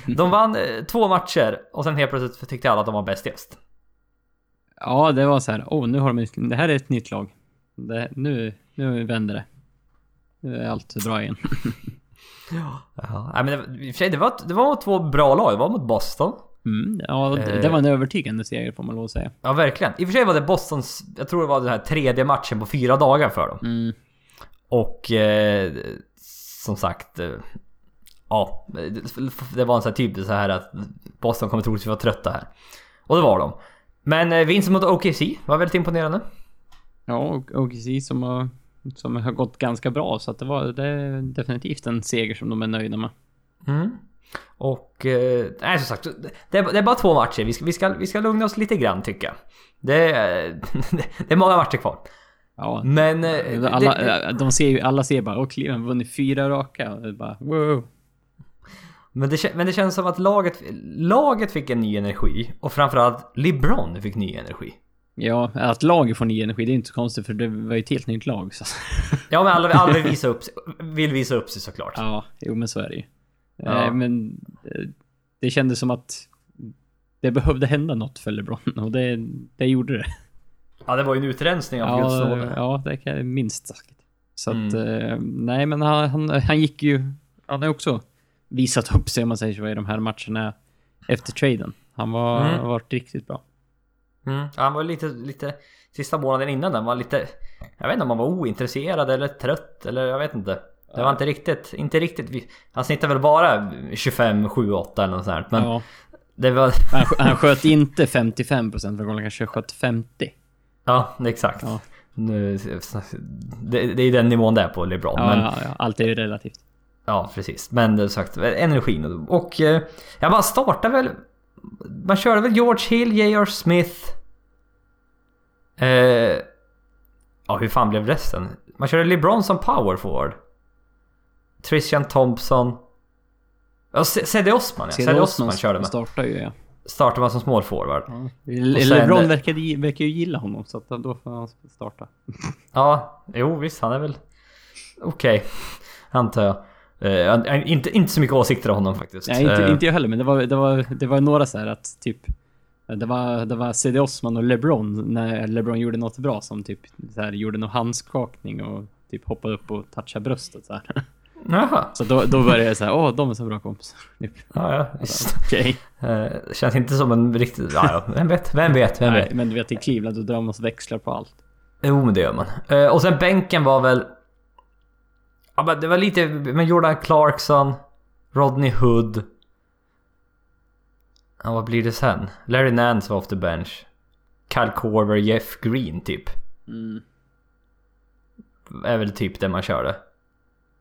S1: De vann eh, två matcher och sen helt plötsligt tyckte alla att de var bäst i öst.
S2: Ja, det var så här. Åh, oh, nu har de... Det här är ett nytt lag. Det, nu, nu vänder det. Nu är allt bra igen.
S1: Ja, nej, men det, i och för sig, det, var, det var mot två bra lag. Det var mot Boston.
S2: Mm, ja, det,
S1: Eh.
S2: det var en övertygande seger får man lov att säga.
S1: Ja, verkligen. I och för sig var det Bostons, jag tror det var den här tredje matchen på fyra dagar för dem.
S2: Mm.
S1: Och eh, som sagt, eh, ja, det- det var en sån här typ så här att Boston kommer troligtvis vara trötta här. Och det var de. Men eh, vinsten mot OKC var väldigt imponerande.
S2: Ja, och OKC som har, som har gått ganska bra, så att det var det är definitivt en seger som de är nöjda med.
S1: Mm. Och... Eh, nej, som sagt. Det är, det är bara två matcher. Vi ska, vi, ska, vi ska lugna oss lite grann tycker jag. Det är, [laughs] det är många matcher kvar.
S2: Ja,
S1: Men... eh,
S2: alla,
S1: det,
S2: De ser ju, alla ser bara åh Cleveland har vunnit fyra raka. Och det är bara, wow.
S1: men, det, kän- men det känns som att laget, laget fick en ny energi. Och framförallt LeBron fick ny energi.
S2: Ja, att laget får ny energi, det är inte så konstigt för det var ju ett helt nytt lag. Så.
S1: Ja, men alla, alla vill, visa upp, sig- vill visa upp sig såklart.
S2: Ja, jo men så är det ju.
S1: Ja.
S2: Eh, men eh, det kändes som att det behövde hända något för LeBron och det, det gjorde det.
S1: Ja, det var ju en utrensning av Guds
S2: Ja,
S1: nåde.
S2: ja, det kan jag minst sagt. Så
S1: Mm.
S2: att, eh, nej men han, han, han gick ju, han har ju också visat upp sig om man säger så i de här matcherna efter traden. Han var,
S1: Mm.
S2: har varit riktigt bra.
S1: Mm. Ja, han var lite, lite... Sista månaden innan den var lite... Jag vet inte om han var ointresserad eller trött eller jag vet inte. Det var inte riktigt, inte riktigt... vi- Han snittade väl bara 25, 7, 8 eller något sånt här, Men
S2: Ja.
S1: det var...
S2: Han, sk- han sköt inte 55% för gången, kanske sköt 50.
S1: Ja, exakt.
S2: Ja.
S1: Nu, det, det är den nivån där på LeBron.
S2: Ja,
S1: men,
S2: ja, ja, allt är ju relativt.
S1: Ja, precis. Men det är sagt, energin. Och eh, jag bara startar väl... Man körde väl George Hill, J.R. Smith... Eh, ja, hur fan blev resten? Man körde LeBron som power forward. Tristan Thompson. Ja, Se- Cedi Osman ja. Cedi Osman körde man.
S2: startar ju ja.
S1: Startade man som small forward.
S2: ja.
S1: sen-
S2: LeBron verkar, ju- verkar ju gilla honom så att då får han starta.
S1: Ja, jo visst han är väl okej. antar jag. Eh, han- han- inte, inte så mycket åsikter om honom faktiskt.
S2: Nej, inte,
S1: Eh,
S2: inte jag heller, men det var, det var, det var några så här att typ... Det var, det var CD Osman och LeBron när LeBron gjorde något bra som typ så här, gjorde någon handskakning och typ hoppade upp och touchade bröstet så här.
S1: Jaha.
S2: Så då, då började jag så här, åh, de är så bra kompisar. [laughs] Typ.
S1: Ja, ja, visst.
S2: Okej.
S1: Eh, känns inte som en riktig... Ja, ja. Vem vet? Vem vet? Vem
S2: Nej,
S1: vet?
S2: Men du vet, i Cleveland, då drar man växlar på allt.
S1: Jo, men det gör man. Eh, och sen bänken var väl... Ja, men det var lite... Men Jordan Clarkson, Rodney Hood. Ja, vad blir det sen? Larry Nance var off the bench. Kyle Korver, Jeff Green typ. Är väl typ det man körde.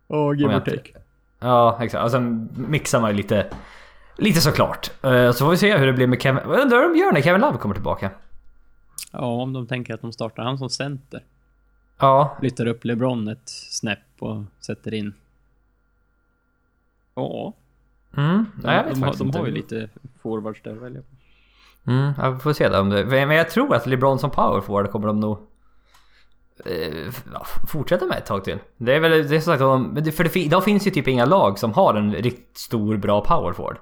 S2: Åh,
S1: Om
S2: give
S1: jag
S2: or
S1: inte-
S2: take.
S1: Ja, exakt. Och sen mixar man ju lite... Lite såklart. Eh, så får vi se hur det blir med Kevin... Jag undrar hur de gör när Kevin Love kommer tillbaka.
S2: Ja, om de tänker att de startar han som center.
S1: Ja,
S2: Flyttar upp LeBron ett snäpp och sätter in... Ja,
S1: Mm, nej, jag vet
S2: de, har-
S1: faktiskt
S2: de
S1: inte.
S2: har ju lite forwards där att välja på.
S1: Mm, ja, vi får se där om det. Men jag tror att LeBron som power forward kommer de nog eh, f- ja, f- fortsätta med ett tag till. Det är väl det är som sagt om de, för det, fi- idag finns ju typ inga lag som har en riktigt stor bra power forward.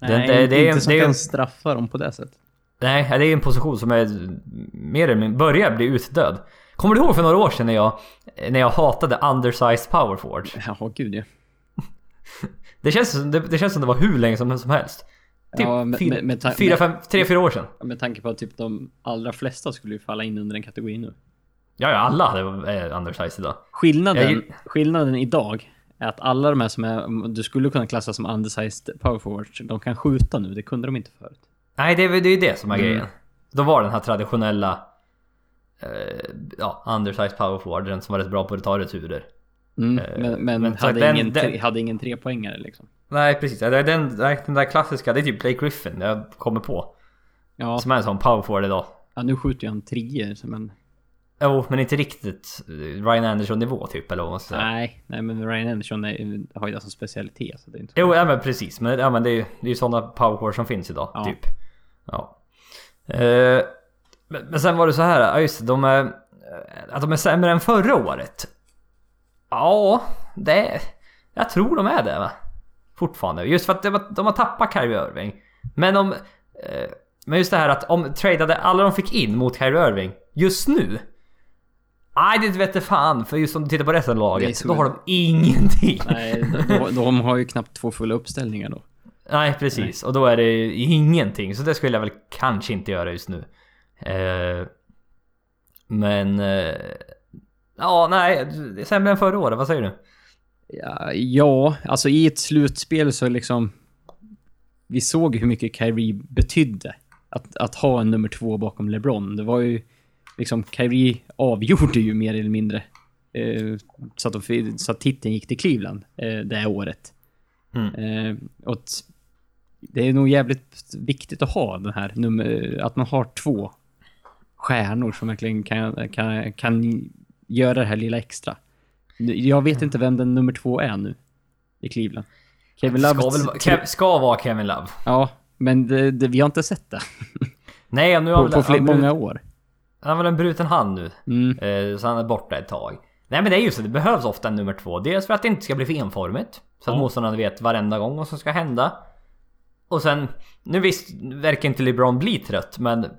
S2: Nej,
S1: Det- det- det är-
S2: inte som
S1: det är-
S2: kan straffa dem på det sättet.
S1: Nej, det är ju en position som är mer eller mindre börjar bli utdöd. Kommer du ihåg för några år sedan när jag, när jag hatade undersized power forward?
S2: Ja, gud ja.
S1: Det känns, som- det, det känns som det var hur länge som, som helst. Typ
S2: Ja, men-
S1: fy-
S2: men- men ta-
S1: fyra,
S2: men-
S1: fem, tre, fyra år sedan.
S2: Med tanke på att typ de allra flesta skulle ju falla in under den kategorin nu.
S1: Ja, ja, alla hade eh, undersized idag. Jag
S2: Skillnaden,
S1: gill-
S2: skillnaden idag är att alla de här som är, du skulle kunna klassa som undersized power forwards, de kan skjuta nu. Det kunde de inte förut.
S1: Nej, det är väl- det är ju det som är
S2: Mm.
S1: grejen. Då var den här traditionella eh, ja, undersized power forwarden som var rätt bra på att ta returer.
S2: Mm,
S1: Eh,
S2: men men,
S1: men så
S2: hade,
S1: att den-
S2: ingen,
S1: den-
S2: tre- hade ingen trepoängare liksom.
S1: Nej, precis. Ja, det är Den, nej, den där klassiska, det är typ Blake Griffin jag kommer på.
S2: Ja,
S1: Som är en sån power forward idag.
S2: ja nu skjuter ju han trior, så men
S1: Jo, men inte riktigt eh, Ryan Anderson-nivå typ, eller vad man ska säga.
S2: nej, nej, men Ryan Anderson är, har ju det som specialitet. Så det är inte
S1: Jo, ja men precis. Men, ja, men det är ju det är ju sådana powercore som finns idag,
S2: Ja.
S1: typ. Ja. Eh, men, men sen var det så här, ja just det, de är, eh, att de är sämre än förra året. Ja, det... Jag tror de är det va? Fortfarande. Just för att de, de har tappat Kyrie Irving. Men om... Eh, men just det här att om tradeade alla de fick in mot Kyrie Irving just nu. Nej, det vete fan. För just om du tittar på resten av
S2: Det är
S1: laget,
S2: så-
S1: då har de ingenting.
S2: Nej, de, de har ju knappt två fulla uppställningar då.
S1: Nej precis, och då är det ju ingenting. Så det skulle jag väl kanske inte göra just nu. Eh, men... Eh, ja, nej. det är Sämre än förra året, vad säger du?
S2: Ja, ja, alltså i ett slutspel så liksom... Vi såg hur mycket Kyrie betydde. Att, att ha en nummer två bakom LeBron. Det var ju... Liksom, Kyrie avgjorde ju mer eller mindre. Eh, så, att de, fi- så att titeln gick till Cleveland eh, det här året.
S1: Mm.
S2: Eh, och t- det är nog jävligt viktigt att ha den här nummer... Att man har två stjärnor som verkligen kan, kan, kan göra det här lilla extra. Nu- Jag vet inte vem den nummer två är nu i Cleveland. Kevin Love...
S1: Ska, väl, vara- Kev, ska vara Kevin Love.
S2: Ja, men det, det, vi har inte sett det
S1: Nej, nu har
S2: på,
S1: väl,
S2: på fler,
S1: han, brut-
S2: många år.
S1: han har väl en bruten hand nu.
S2: Mm.
S1: Eh, så han är borta ett tag. Nej men det är ju så, det behövs ofta en nummer två. Dels för att det inte ska bli för enformigt. Så att
S2: Ja.
S1: motståndarna vet varenda gång vad som ska hända. Och sen, nu visst verkar inte LeBron bli trött men... Eh,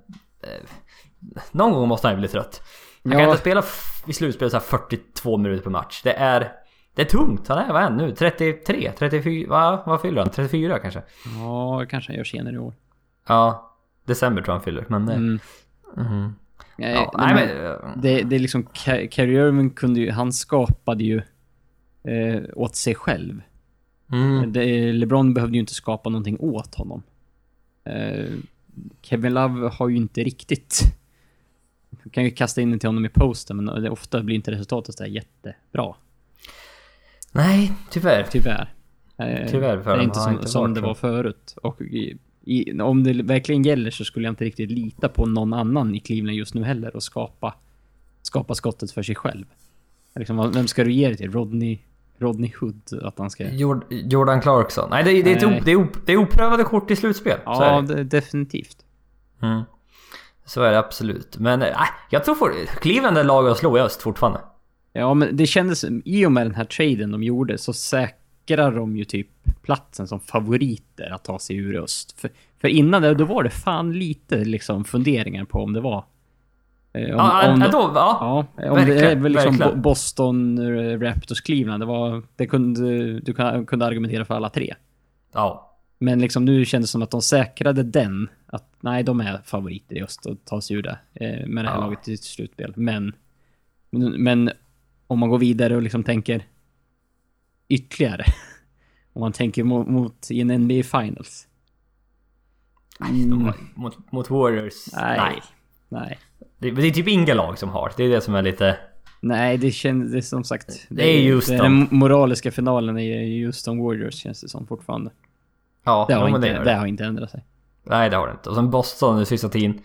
S1: någon gång måste han ju bli trött. Han
S2: Ja.
S1: kan inte spela f- i slutspel så här 42 minuter per match. Det är... Det är tungt. Han är, vad är han nu? 33? 34? Va, vad fyller han? 34 kanske?
S2: Ja, kanske han gör senare i år.
S1: Ja. December tror jag han fyller. Men... eh,
S2: Mm.
S1: mhm.
S2: Nej,
S1: Ja,
S2: nej, men,
S1: eh,
S2: det, det är liksom... Ka- Kyrie Irving kunde ju... Han skapade ju eh, åt sig själv.
S1: mm.
S2: Det, LeBron behövde ju inte skapa någonting åt honom. Eh, Kevin Love har ju inte riktigt... Man kan ju kasta in den till honom i posten, men det, ofta blir inte resultatet så där jättebra.
S1: Nej, tyvärr.
S2: Tyvärr. Eh,
S1: Tyvärr för
S2: Det är
S1: dem
S2: inte
S1: har
S2: som,
S1: inte
S2: som
S1: varit
S2: det
S1: så.
S2: var förut. Och i, i, om det verkligen gäller så skulle jag inte riktigt lita på någon annan i Cleveland just nu heller och skapa, skapa skottet för sig själv. Liksom, vad- vem ska du ge det till? Rodney, Rodney Hood? Att han ska...
S1: Jord- Jordan Clarkson. Nej, det, är- det, är, ett
S2: Nej.
S1: o, det, är op, det är oprövade kort i slutspel. så,
S2: Ja,
S1: är det.
S2: det, definitivt.
S1: Mm. så är det absolut. Men äh, jag tror for, Cleveland är laget att slå i öst fortfarande.
S2: Ja, men det kändes, i och med den här traden de gjorde, så säkrar de ju typ platsen som favoriter att ta sig ur öst. För, för innan det, då var det fan lite liksom funderingar på om det var... eh, om,
S1: ja,
S2: om,
S1: äh, då, ja.
S2: ja, om det är
S1: verkligen,
S2: väl liksom
S1: verkligen.
S2: Bo- Boston, eh, Raptors, Cleveland. Det var, det kunde, du kunde, kunde argumentera för alla tre.
S1: ja.
S2: Men liksom nu kändes det som att de säkrade den. Att nej, de är favoriter i öst och tar sig ur det eh, med det här
S1: Ja.
S2: laget i ett slutspel. Men, men, men om man går vidare och liksom tänker ytterligare. [laughs] Om man tänker mot, mot i en NBA Finals.
S1: De har- Mot, mot Warriors.
S2: Mm. Nej.
S1: Nej.
S2: Nej.
S1: Det, det är typ inga lag som har. Det är det som är lite...
S2: Nej, det känns det är som sagt.
S1: Det är just
S2: det är Den moraliska finalen är ju just de Warriors känns det som fortfarande.
S1: Ja,
S2: Det har,
S1: men
S2: inte,
S1: gör
S2: det har inte ändrat sig.
S1: Nej, det har det inte. Och sen Boston den sista tiden.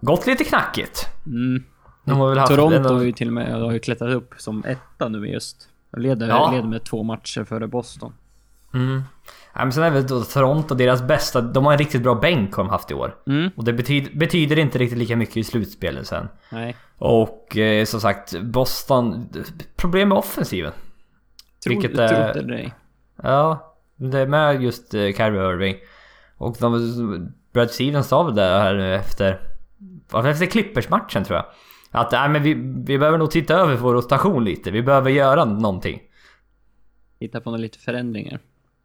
S1: Gått lite knackigt.
S2: Mm.
S1: De har väl haft en
S2: Toronto
S1: av-
S2: har ju till och med har ju klättrat upp som etta nu just. De leder,
S1: Ja.
S2: leder med två matcher före Boston.
S1: Mm. Nej, men sen är väl då Toronto deras bästa. De har en riktigt bra bänk har de haft i år.
S2: Mm.
S1: Och det betyder, betyder inte riktigt lika mycket i slutspelet sen.
S2: Nej.
S1: Och eh, som sagt, Boston... Problem med offensiven.
S2: Tro,
S1: Vilket
S2: trodde
S1: är-
S2: det dig.
S1: Ja, det är med just eh, Kyrie Irving. Och de, Brad Stevens sa väl det här nu efter... Efter Clippers-matchen tror jag. Att nej, men vi, vi behöver nog titta över vår rotation lite. Vi behöver göra någonting.
S2: Hitta på några lite förändringar.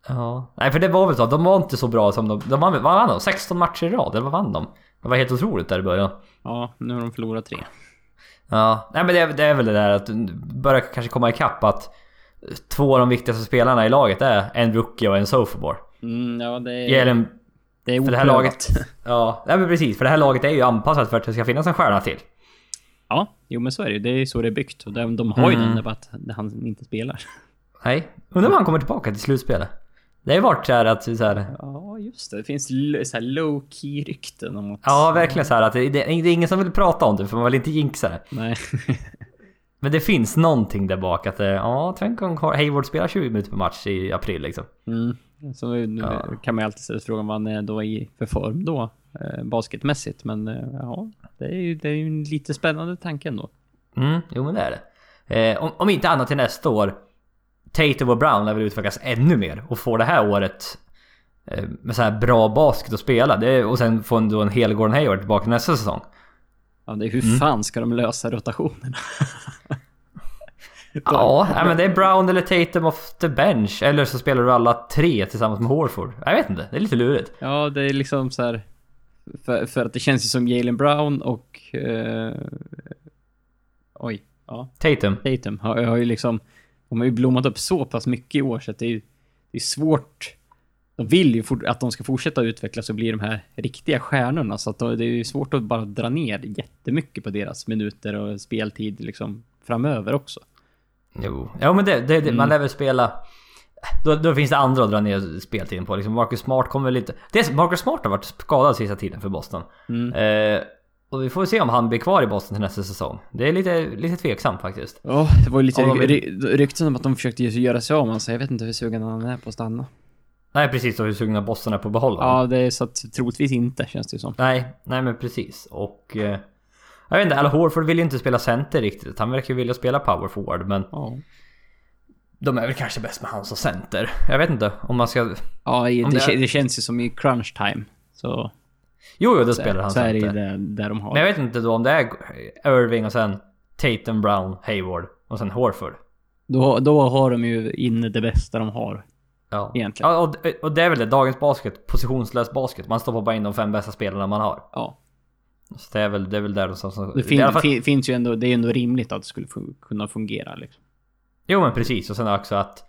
S1: Ja. Nej för det var väl så, de var inte så bra som de... de vann, vad vann de? 16 matcher i rad? Eller vad vann de? Det var helt otroligt där i början.
S2: Ja, nu har de förlorat tre.
S1: Ja, nej men det, är- det är väl det där att börja kanske komma ikapp att två av de viktigaste spelarna i laget är en rookie och en sophomore.
S2: Mm, ja, det är...
S1: Jalen,
S2: det är
S1: för det här
S2: oprövat.
S1: laget... Ja, nej men precis. För det här laget är ju anpassat för att det ska finnas en stjärna till.
S2: Ja, jo men så är det ju. Det är ju så det är byggt. Och de, de har ju
S1: Mm.
S2: den där bara att han inte spelar. [laughs]
S1: Nej. Undrar om han kommer tillbaka till slutspelet. Det har ju varit så här att så här,
S2: Ja, just det. Det finns l- så här low key rykten om att...
S1: Ja, verkligen så här att det, det, det är ingen som vill prata om det för man vill inte jinxa det.
S2: Nej.
S1: Men det finns någonting där bak att eh, ja, tänk om Car- Hayward spelar 20 minuter per match i april liksom.
S2: Mm. Så nu
S1: Ja.
S2: kan man ju alltid ställa sig frågan vad han är då i för form då. Eh, basketmässigt. Men eh, ja, det är ju, det är ju en lite spännande tanke ändå.
S1: Mm, jo men det är det. Eh, om, om inte annat till nästa år. Tatum och Brown lär väl utvecklas ännu mer och få det här året eh, med så här bra basket att spela. Det, och sen få en, då en hel Gordon Hayward tillbaka nästa säsong.
S2: Ja, det är hur
S1: Mm.
S2: fan ska de lösa rotationerna?
S1: [laughs] Ja, nej, men det är Brown eller Tatum off the bench. Eller så spelar du alla tre tillsammans med Horford. Jag vet inte, det är lite lurigt.
S2: Ja, det är liksom så här. För, för att det känns ju som Jalen Brown och... Eh, oj. Ja,
S1: Tatum.
S2: Tatum har, har ju liksom... De har ju blommat upp så pass mycket i år så att det är ju det är svårt. De vill ju fort, att de ska fortsätta utvecklas och bli de här riktiga stjärnorna. Så att de, det är ju svårt att bara dra ner jättemycket på deras minuter och speltid liksom framöver också.
S1: Jo, ja, men det, det, det,
S2: Mm.
S1: man lär väl spela... Då, då finns det andra att dra ner speltiden på. Liksom Marcus Smart kommer väl inte... Dels, Marcus Smart har varit skadad sista tiden för Boston.
S2: Mm.
S1: Eh, och vi får se om han blir kvar i Boston till nästa säsong. Det är lite, lite tveksamt faktiskt.
S2: Ja, det var ju lite
S1: Ja, de är-
S2: ry- rykten om att de försökte ju göra sig av honom, så jag vet inte hur sugen han är på att stanna.
S1: Nej precis, och hur sugna Boston är på att behålla honom.
S2: Ja, det är så att troligtvis inte känns det ju som.
S1: Nej, nej men precis. Och... Eh, jag vet inte, Al Horford vill ju inte spela center riktigt. Han verkar ju vilja spela power forward, men
S2: Ja,
S1: de är väl kanske bäst med han som center. Jag vet inte om man ska...
S2: ja i-
S1: Om
S2: det,
S1: det är-
S2: kä- det känns ju som i crunch time. Så,
S1: Jo, jo, då spelar han
S2: så är det
S1: center.
S2: ju där, där de har.
S1: Men jag vet inte då om det är Irving och sen Tatum, Brown, Hayward och sen Horford.
S2: Då, då har de ju inne det bästa de har.
S1: Ja.
S2: Egentligen.
S1: Ja, och, och det är väl det. Dagens basket. Positionslös basket. Man stoppar bara in de fem bästa spelarna man har.
S2: Ja.
S1: Så det är väl, det är väl där de som... som
S2: Det
S1: i
S2: fin,
S1: alla fall-
S2: fin, finns ju ändå, det är ju ändå rimligt att det skulle fun- kunna fungera liksom.
S1: Jo men precis. Och sen också att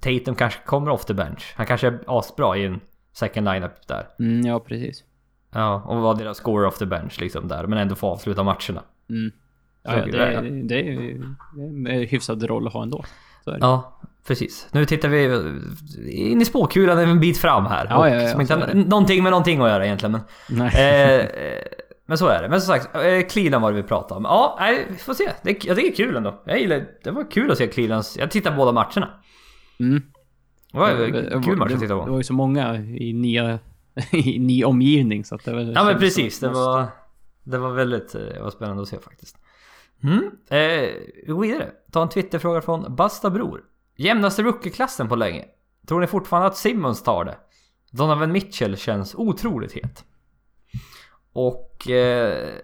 S1: Tatum kanske kommer off the bench. Han kanske är asbra i en second lineup där.
S2: Mm, ja, precis.
S1: Ja, och var deras scorer off the bench liksom där. Men ändå få avsluta matcherna.
S2: Mm.
S1: Så
S2: Ja, ja,
S1: det-
S2: det, det, det är ju det är en hyfsad roll att ha ändå. Så är det.
S1: Ja, precis. Nu tittar vi in i spåkulan en bit fram här.
S2: Ja,
S1: Och
S2: ja, ja,
S1: som inte
S2: så
S1: har
S2: är det.
S1: någonting med någonting att göra egentligen. Men,
S2: Nej.
S1: eh, eh, men så är det. Men som sagt, eh, Cleveland var det vi pratade om. Ja, nej, vi får se. Det, är- jag tycker det är kul ändå. Jag gillar, det var kul att se Clevelands... Jag tittade på båda matcherna.
S2: Mm.
S1: Det var en
S2: Det- det-
S1: kul match att titta
S2: Det
S1: på.
S2: var ju så många i nya... [laughs] I ny omgivning så att det var,
S1: Ja men precis, det var, det var väldigt eh, det var spännande att se faktiskt. Mm. Eh, vi går vidare. Ta en Twitterfråga från Basta Bror. Jämnaste rookieklassen på länge. Tror ni fortfarande att Simmons tar det? Donovan Mitchell känns otroligt het. Och... Eh,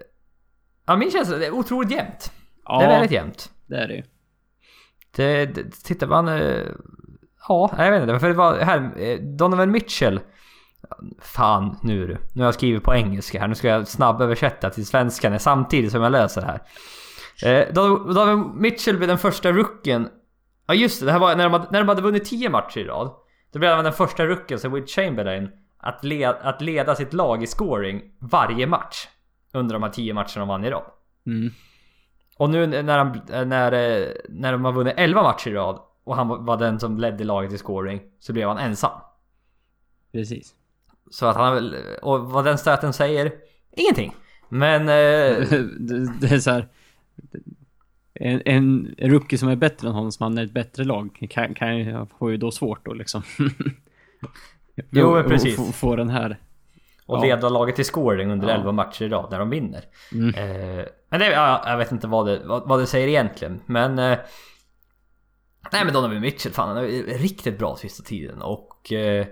S1: ja min känsla, det är otroligt jämnt.
S2: Ja,
S1: Det är väldigt jämnt.
S2: det är det ju.
S1: Det, det, tittar man... eh, Ja, jag vet inte. För det var här, eh, Donovan Mitchell. Fan nu du. Nu har jag skrivit på engelska här. Nu ska jag snabböversätta till svenska när- samtidigt som jag läser här. Eh, Don- Donovan Mitchell blev den första rucken. Ja just det, det här var när de hade, när de hade vunnit 10 matcher i rad. Då blev han den första rucken sen Will Chamberlain att, le, att leda sitt lag i scoring varje match. Under de här 10 matcherna de vann i rad.
S2: Mm.
S1: Och nu när, han, när, eh, när de har vunnit 11 matcher i rad och han var den som ledde laget i scoring så blev han ensam.
S2: Precis.
S1: Så att han har väl... Och vad den stöten säger? Ingenting. Men... Eh,
S2: det, det är så här, en, en rookie som är bättre än honom, som hamnar i ett bättre lag, kan, kan, ju- får ju då svårt då liksom.
S1: Jo, men
S2: Och- och
S1: precis.
S2: Få, få den här.
S1: och
S2: Ja.
S1: leda laget i scoring under
S2: Ja.
S1: 11 matcher i rad när de vinner.
S2: Mm.
S1: Eh, men det, ja, jag vet inte vad det, vad, vad det säger egentligen. Men... Eh, nej men Donovan Mitchell, fan han är ju riktigt bra sista tiden och... Eh,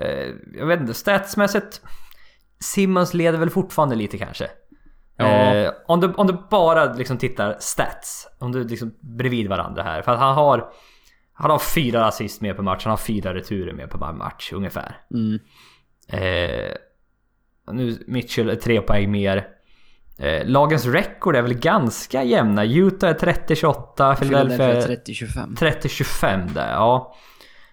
S1: eh, jag vet inte, statsmässigt... Simmons leder väl fortfarande lite kanske.
S2: Ja.
S1: Eh, om, du, om du bara liksom tittar stats. Om du liksom bredvid varandra här. För att han har... Han har fyra assist med per match, han har fyra returer med per match ungefär.
S2: Mm.
S1: Eh, nu Mitchell är tre poäng mer. Eh, lagens rekord är väl ganska jämna. Utah är 30-28, Philadelphia är
S2: 30-25.
S1: 30-25 där, ja.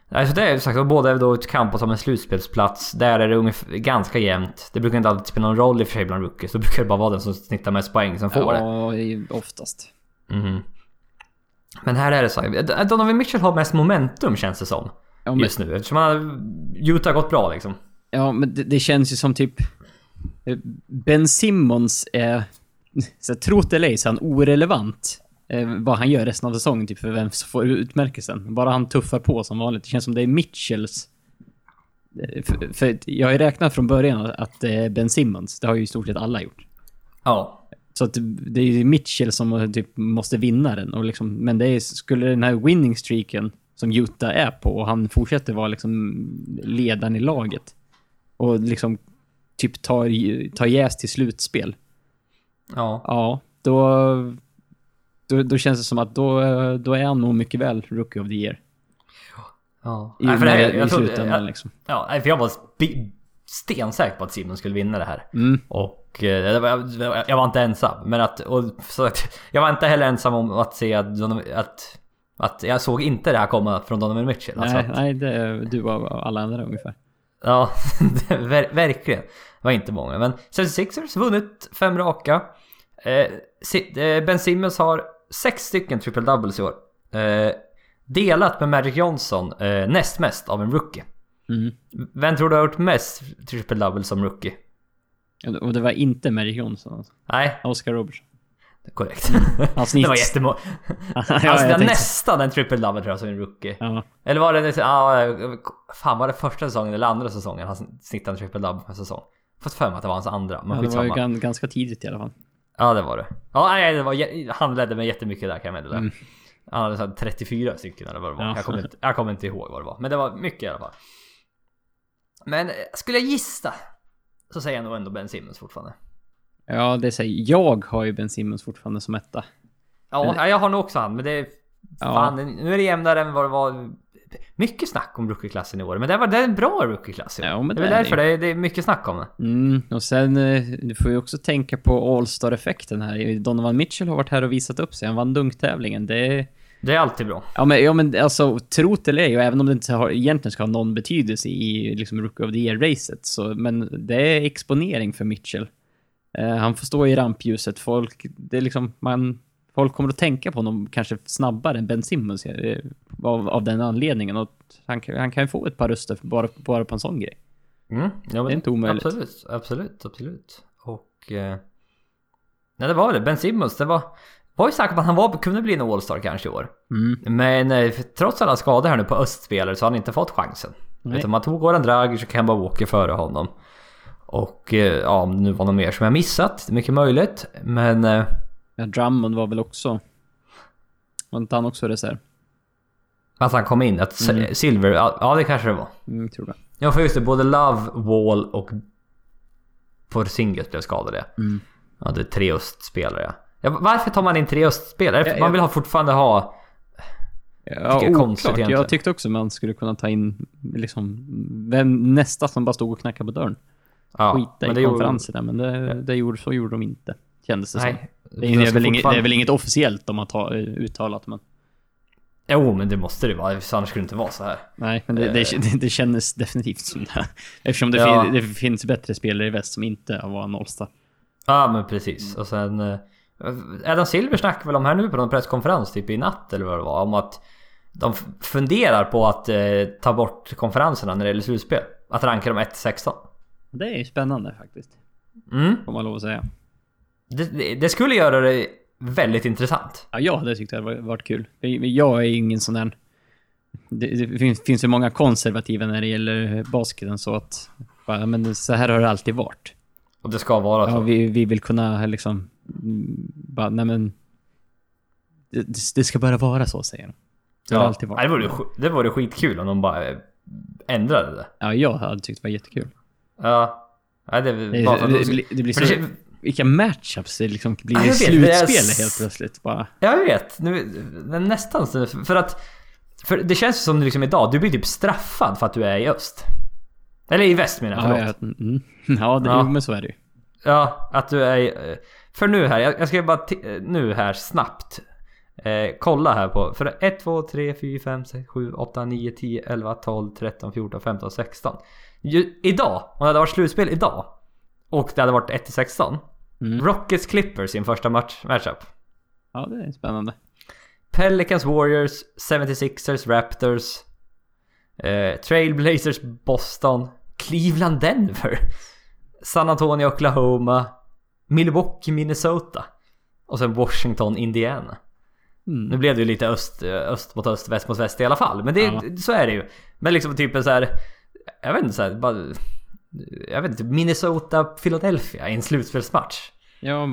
S1: Alltså det är ju sagt, och båda är då ute kampat om en slutspelsplats. Där är det ungefär, ganska jämnt. Det brukar inte alltid spela någon roll i och för sig bland rookies. Då brukar det bara vara den som snittar mest poäng som får det.
S2: Ja, det är ju oftast.
S1: Mhm. Men här är det så. här, Donovan Mitchell har mest momentum känns det som.
S2: Ja, men,
S1: Just nu. Eftersom han, Utah har gått bra liksom.
S2: ja, men det, det känns ju som typ... eh, Ben Simmons är... [laughs] Så här, trot eller ej, så är han orelevant. Eh, vad han gör resten av säsongen, typ, för vem som får utmärkelsen. Bara han tuffar på som vanligt. Det känns som det är Mitchells... eh, För, för jag har ju räknat från början att det är Ben Simmons. Det har ju i stort sett alla gjort.
S1: Ja.
S2: Så att det är ju Mitchell som typ måste vinna den. Och liksom, men det är, skulle den här winning streaken som Utah är på och han fortsätter vara liksom ledaren i laget och liksom typ tar, tar jäs till slutspel.
S1: Ja.
S2: Ja, då, då, då känns det som att då, då är han nog mycket väl Rookie of the Year.
S1: ja.
S2: I,
S1: Nej, för det här,
S2: med, i
S1: jag, trodde,
S2: slutändan
S1: jag,
S2: liksom.
S1: ja, nej, för jag var sp- stensäker på att Simon skulle vinna det här.
S2: Mm.
S1: Och eh, det var- jag, jag var inte ensam. Men att, och, så att, jag var inte heller ensam om att se att, Donovan- att, att jag såg inte det här komma från Donovan Mitchell. Alltså
S2: nej,
S1: att,
S2: nej, det är du och alla andra ungefär.
S1: Ja, [laughs] det- ver, verkligen. Det var inte många. Men 76ers vunnit fem raka. Eh, Si- eh, ben Simmons har sex stycken triple doubles i år. Eh, delat med Magic Johnson eh, näst mest av en rookie.
S2: Mm.
S1: Vem tror du har gjort mest triple doubles som rookie?
S2: Och det var inte Magic Johnson alltså.
S1: Nej,
S2: Oscar Robertson.
S1: korrekt.
S2: Han
S1: [laughs] Det var
S2: snitts.
S1: jättemånga.
S2: Mm. [laughs] Ja, jag
S1: Alltså det var
S2: tänkte-
S1: nästan en triple double tror jag som en rookie.
S2: Ja.
S1: Eller var det... liksom, Ja, fan var det första säsongen eller andra säsongen han snittade en triple double per säsong? Fått för mig att det var hans andra, men
S2: Ja, det var
S1: skitsamma.
S2: ju gan, ganska tidigt i alla fall.
S1: Ja det var det. Ja nej, det var, jä- han ledde mig jättemycket där kan jag meddela.
S2: Mm.
S1: Han hade så här 34 stycken eller vad det var.
S2: Ja.
S1: Jag, kommer inte, jag kommer inte ihåg vad det var. Men det var mycket i alla fall. Men eh, skulle jag gissa så säger jag nog ändå Ben Simmons fortfarande.
S2: Ja, det säger jag. har ju Ben Simmons fortfarande som etta.
S1: Ja,
S2: Men-
S1: ja, jag har nog också han men det är...
S2: Ja.
S1: Fan, nu är det jämnare än vad det var. Mycket snack om rookieklassen i år men det, var, det är en bra rookieklass i år.
S2: Ja, men
S1: det är
S2: det
S1: väl
S2: är
S1: därför det är, det är mycket snack om det.
S2: Mm, och sen, eh, du får ju också tänka på All-Star-effekten här. Donovan Mitchell har varit här och visat upp sig. Han vann dunktävlingen. Det är...
S1: Det är alltid bra.
S2: Ja men, ja, men alltså, trot eller ej, och även om det inte har, egentligen ska ha någon betydelse i liksom, Rookie of the Year-racet, så, men det är exponering för Mitchell. Eh, han får stå i rampljuset. Folk, det är liksom, man, folk kommer att tänka på honom kanske snabbare än Ben Simmons eh, av, av den anledningen. Och att han, kan- han kan ju få ett par röster för- bara, bara på en sån grej.
S1: Mm, ja, men
S2: Det är inte omöjligt.
S1: Absolut, absolut, absolut. Och... Eh, nej, det var väl det. Ben Simmons, det var... var ju sagt att han var, kunde bli en All-Star kanske i år.
S2: Mm.
S1: Men eh, för- trots alla skador här nu på östspelare så har han inte fått chansen.
S2: Nej.
S1: Utan man tog Goran Dragic och Kemba Walker före honom. Och eh, ja, om det nu var något mer som jag missat, mycket möjligt. Men... Eh,
S2: Ja, Drummond var väl också... Var inte han också reserv?
S1: att han kom in, att mm. Silver, ja ja, det kanske det var.
S2: Mm, tror det.
S1: Ja för just det, både Love, Wall och Porzingis blev skadade.
S2: Mm.
S1: Ja, det är tre östspelare. ja. Ja, varför tar man in tre östspelare? För
S2: Ja,
S1: Man
S2: ja.
S1: vill ha fortfarande ha...
S2: Ja,
S1: Tycker jag är konstigt
S2: oklart.
S1: egentligen.
S2: Jag tyckte också man skulle kunna ta in liksom, vem nästa som bara stod och knackade på dörren.
S1: Ja,
S2: Skita i
S1: gjorde-
S2: konferenserna, men det, det gjorde, så gjorde de inte. Kändes det som.
S1: Nej.
S2: Det är, det, är väl inget, det
S1: fortfarande-
S2: är väl inget officiellt de har ta, uttalat, men...
S1: Jo, men det måste det vara. för Annars skulle det inte vara så här.
S2: Nej, men det, det, det, det kändes definitivt som det. Eftersom det,
S1: Eh. Ja.
S2: fin, det finns bättre spelare i väst som inte var en Allstar.
S1: Ja, men
S2: Mm.
S1: precis. Och sen... eh, Adam Silver snackade väl om här nu på någon presskonferens typ i natt eller vad det var. Om att de f- funderar på att eh, ta bort konferenserna när det gäller slutspel. Att ranka dem 1-16.
S2: Det är ju spännande faktiskt,
S1: Mm.
S2: får man lov att säga.
S1: Det, det, det skulle göra det väldigt intressant.
S2: Ja, jag hade tyckt det hade varit kul. Jag- Jag är ju ingen sån där... Det, det finns, finns ju många konservativa när det gäller basketen så att... Bara, men så här har det alltid varit.
S1: Och det ska vara
S2: Ja,
S1: så.
S2: vi, vi vill kunna liksom... mm, Bara, nej men... Det, det ska bara vara så, säger de. Det har det alltid
S1: Nej, det,
S2: varit.
S1: vore, sk- det vore skitkul om de bara eh, ändrade det.
S2: Ja, jag hade tyckt det var jättekul.
S1: Ja. Nej, det,
S2: Det,
S1: bara för att
S2: det,
S1: de
S2: det,
S1: skulle-
S2: blir- det blir
S1: för det,
S2: så... Vilka matchups det liksom blir
S1: Ja,
S2: i
S1: jag vet, det är
S2: slutspelet
S1: s-
S2: helt plötsligt bara.
S1: jag vet. Nu, det är nästan så. För att För det känns som liksom idag, du blir typ straffad för att du är i öst. Eller i väst menar jag,
S2: Ja,
S1: förlåt.
S2: ja, mm. [laughs] ja, det,
S1: Ja.
S2: Jo, men så är det ju.
S1: Ja, att du är... eh, För nu här, jag jag ska bara ti- eh, nu här snabbt. Eh, kolla här på. För 1, 2, 3, 4, 5, 6, 7, 8, 9, 10, 11, 12, 13, 14, 15, 16. Ju, idag, om det hade varit slutspel idag och det hade varit 1 till 16.
S2: Mm.
S1: Rockets Clippers sin första match, matchup.
S2: Ja, det är spännande.
S1: Pelicans Warriors, 76ers Raptors. Eh, Trailblazers Boston. Cleveland Denver. San Antonio Oklahoma. Milwaukee Minnesota. Och sen Washington Indiana.
S2: Mm.
S1: Nu blev det ju lite öst, eh, öst mot öst, väst mot väst i alla fall. Men det,
S2: Ja.
S1: så är det ju. Men liksom typ en så här. Jag vet inte så här, bara, Jag vet inte, Minnesota Philadelphia i en slutspelsmatch.
S2: Ja, vad,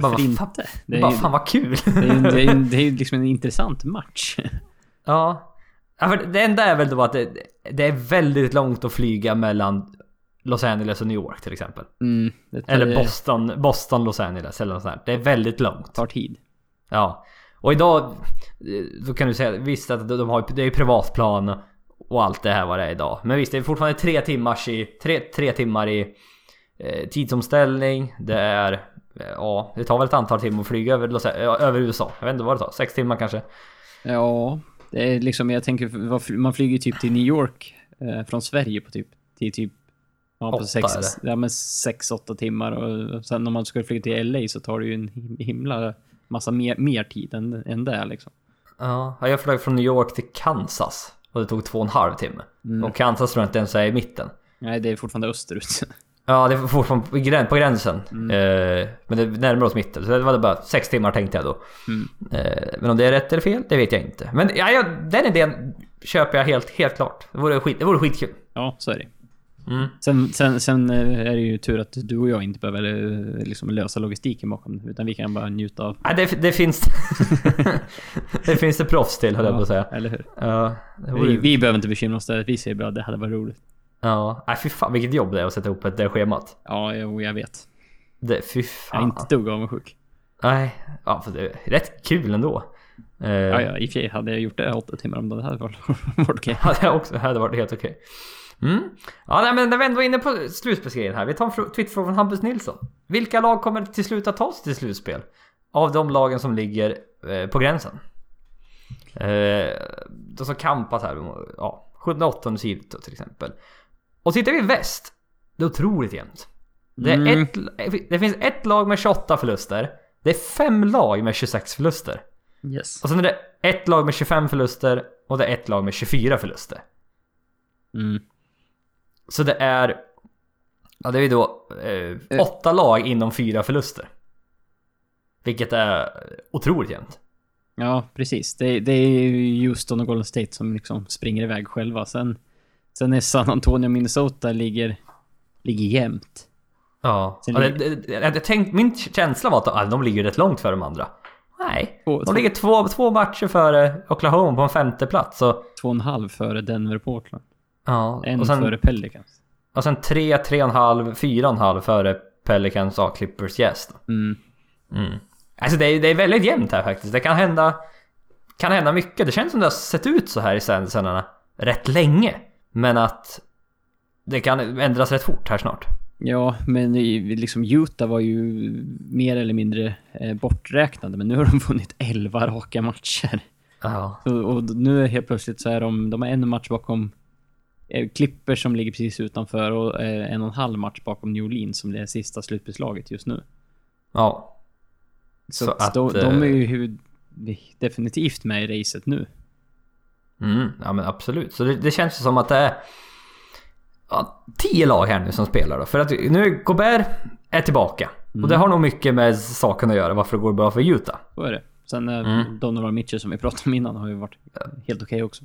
S1: Bara, vad
S2: inte?
S1: fan-
S2: Det är
S1: bara
S2: ju-
S1: fan vad kul.
S2: Det är ju det är, ju- det är ju liksom en intressant match.
S1: Ja. ja för det enda är väl då att det, det är väldigt långt att flyga mellan Los Angeles och New York till exempel.
S2: Mm, det tar,
S1: Eller Boston, Boston, Los Angeles eller något sånt där. Det är väldigt långt.
S2: tar tid.
S1: Ja. Och idag, eh, så kan du säga visst att de har, det är privatplan och allt det här vad det är idag. Men visst, det är fortfarande tre timmars i, tre, tre timmar i eh, tidsomställning. Det är, eh, ja, det tar väl ett antal timmar att flyga över, Los, eh, över USA. Jag vet inte vad det tar, sex timmar kanske.
S2: Ja, det är liksom, jag tänker, vad fly- man flyger ju typ till New York eh, från Sverige på typ, till typ, ja, på
S1: Åtta,
S2: sex,
S1: eller?
S2: ja, men sex, åtta timmar och och sen om man skulle flyga till LA så tar det ju en him- himla massa mer, mer tid än, än det liksom.
S1: Ja, jag flög från New York till Kansas och det tog två och en halv timme. Och Kansas tror jag inte ens är i mitten.
S2: Nej, det är fortfarande österut. [laughs]
S1: Ja, det är fortfarande på grän- på gränsen. Eh, men det närmar oss mitten. Så det var bara sex timmar tänkte jag då. Eh, men om det är rätt eller fel, det vet jag inte. Men ja, ja, den idén köper jag helt, helt klart. Det vore, skit, det vore skitkul.
S2: Ja, så är det.
S1: Mm.
S2: Sen, sen, sen eh, är det ju tur att du och jag inte behöver eh, liksom lösa logistiken bakom det, utan vi kan bara njuta av...
S1: Nej, det, det finns... [laughs] det finns det proffs till, höll jag på att säga.
S2: Eller hur?
S1: Ja, det vore,
S2: Vi, vi behöver inte bekymra oss där. Vi säger bara det hade varit roligt.
S1: ja. Nej, fy fan vilket jobb det är att sätta ihop ett- det schemat.
S2: Ja, jo, jag vet.
S1: Det, fy
S2: Jag
S1: fan.
S2: är inte ett dugg avundsjuk.
S1: Nej, ja, för det är rätt kul ändå. Eh,
S2: Ja, ja, i och för sig hade jag gjort det åtta timmar om dagen, det hade varit [laughs] varit okej.
S1: [laughs] Hade jag också, hade varit helt okej. Mm. Ja, nej, men när vi ändå är inne på slutspelsgrejen här. Vi tar en fr- twitterfråga från Hampus Nilsson. Vilka lag kommer till slut att ta sig till slutspel? Av de lagen som ligger eh, på gränsen. Eh, de som kampat här. Ja, 78 sidor till exempel. Och tittar vi i väst. Det är otroligt jämnt. Det, är
S2: Mm.
S1: ett, det finns ett lag med 28 förluster. Det är fem lag med 26 förluster.
S2: Yes.
S1: Och sen är det ett lag med 25 förluster och det är ett lag med 24 förluster.
S2: Mm.
S1: Så det är... Ja, det är ju då eh, åtta lag inom fyra förluster. Vilket är otroligt jämnt.
S2: Ja, precis. Det, det är ju Houston och Golden State som liksom springer iväg själva. Sen, sen är San Antonio och Minnesota ligger, ligger jämnt.
S1: Ja.
S2: Sen
S1: ja det,
S2: ligger-
S1: det, jag tänkte, min känsla var att ah, de ligger rätt långt före de andra. Nej.
S2: Två- två-
S1: De ligger två, två matcher före Oklahoma på en femte plats. Så,
S2: Två och en halv före Denver och Portland.
S1: ja.
S2: En
S1: och, sen,
S2: före Pelicans.
S1: och sen tre, tre och en halv, fyra och en halv före Pelicans, ja, Clippers, Jazz. då.
S2: Mm.
S1: Mm. Alltså det är, det är väldigt jämnt här faktiskt. Det kan hända, kan hända mycket. Det känns som det har sett ut så här i sändarna rätt länge. Men att det kan ändras rätt fort här snart.
S2: Ja, men i- liksom Utah var ju mer eller mindre eh, borträknade, men nu har de vunnit 11 raka matcher.
S1: Ja.
S2: Så, och nu är helt plötsligt så är de, de är en match bakom eh, Clippers som ligger precis utanför och eh, en och en halv match bakom New Orleans som är det sista slutbeslaget just nu.
S1: Ja.
S2: Så,
S1: Så
S2: att,
S1: att,
S2: de, de är
S1: eh,
S2: ju huvud, definitivt med i racet nu.
S1: Mm, ja men absolut. Så det, det känns ju som att det är ja, tio lag här nu som spelar då. För att nu Gobert är tillbaka. Och det har nog mycket med saken att göra varför det går bra för Utah.
S2: Så är det. Sen eh,
S1: Mm.
S2: Donovan Mitchell som vi pratade om innan har ju varit helt okej också.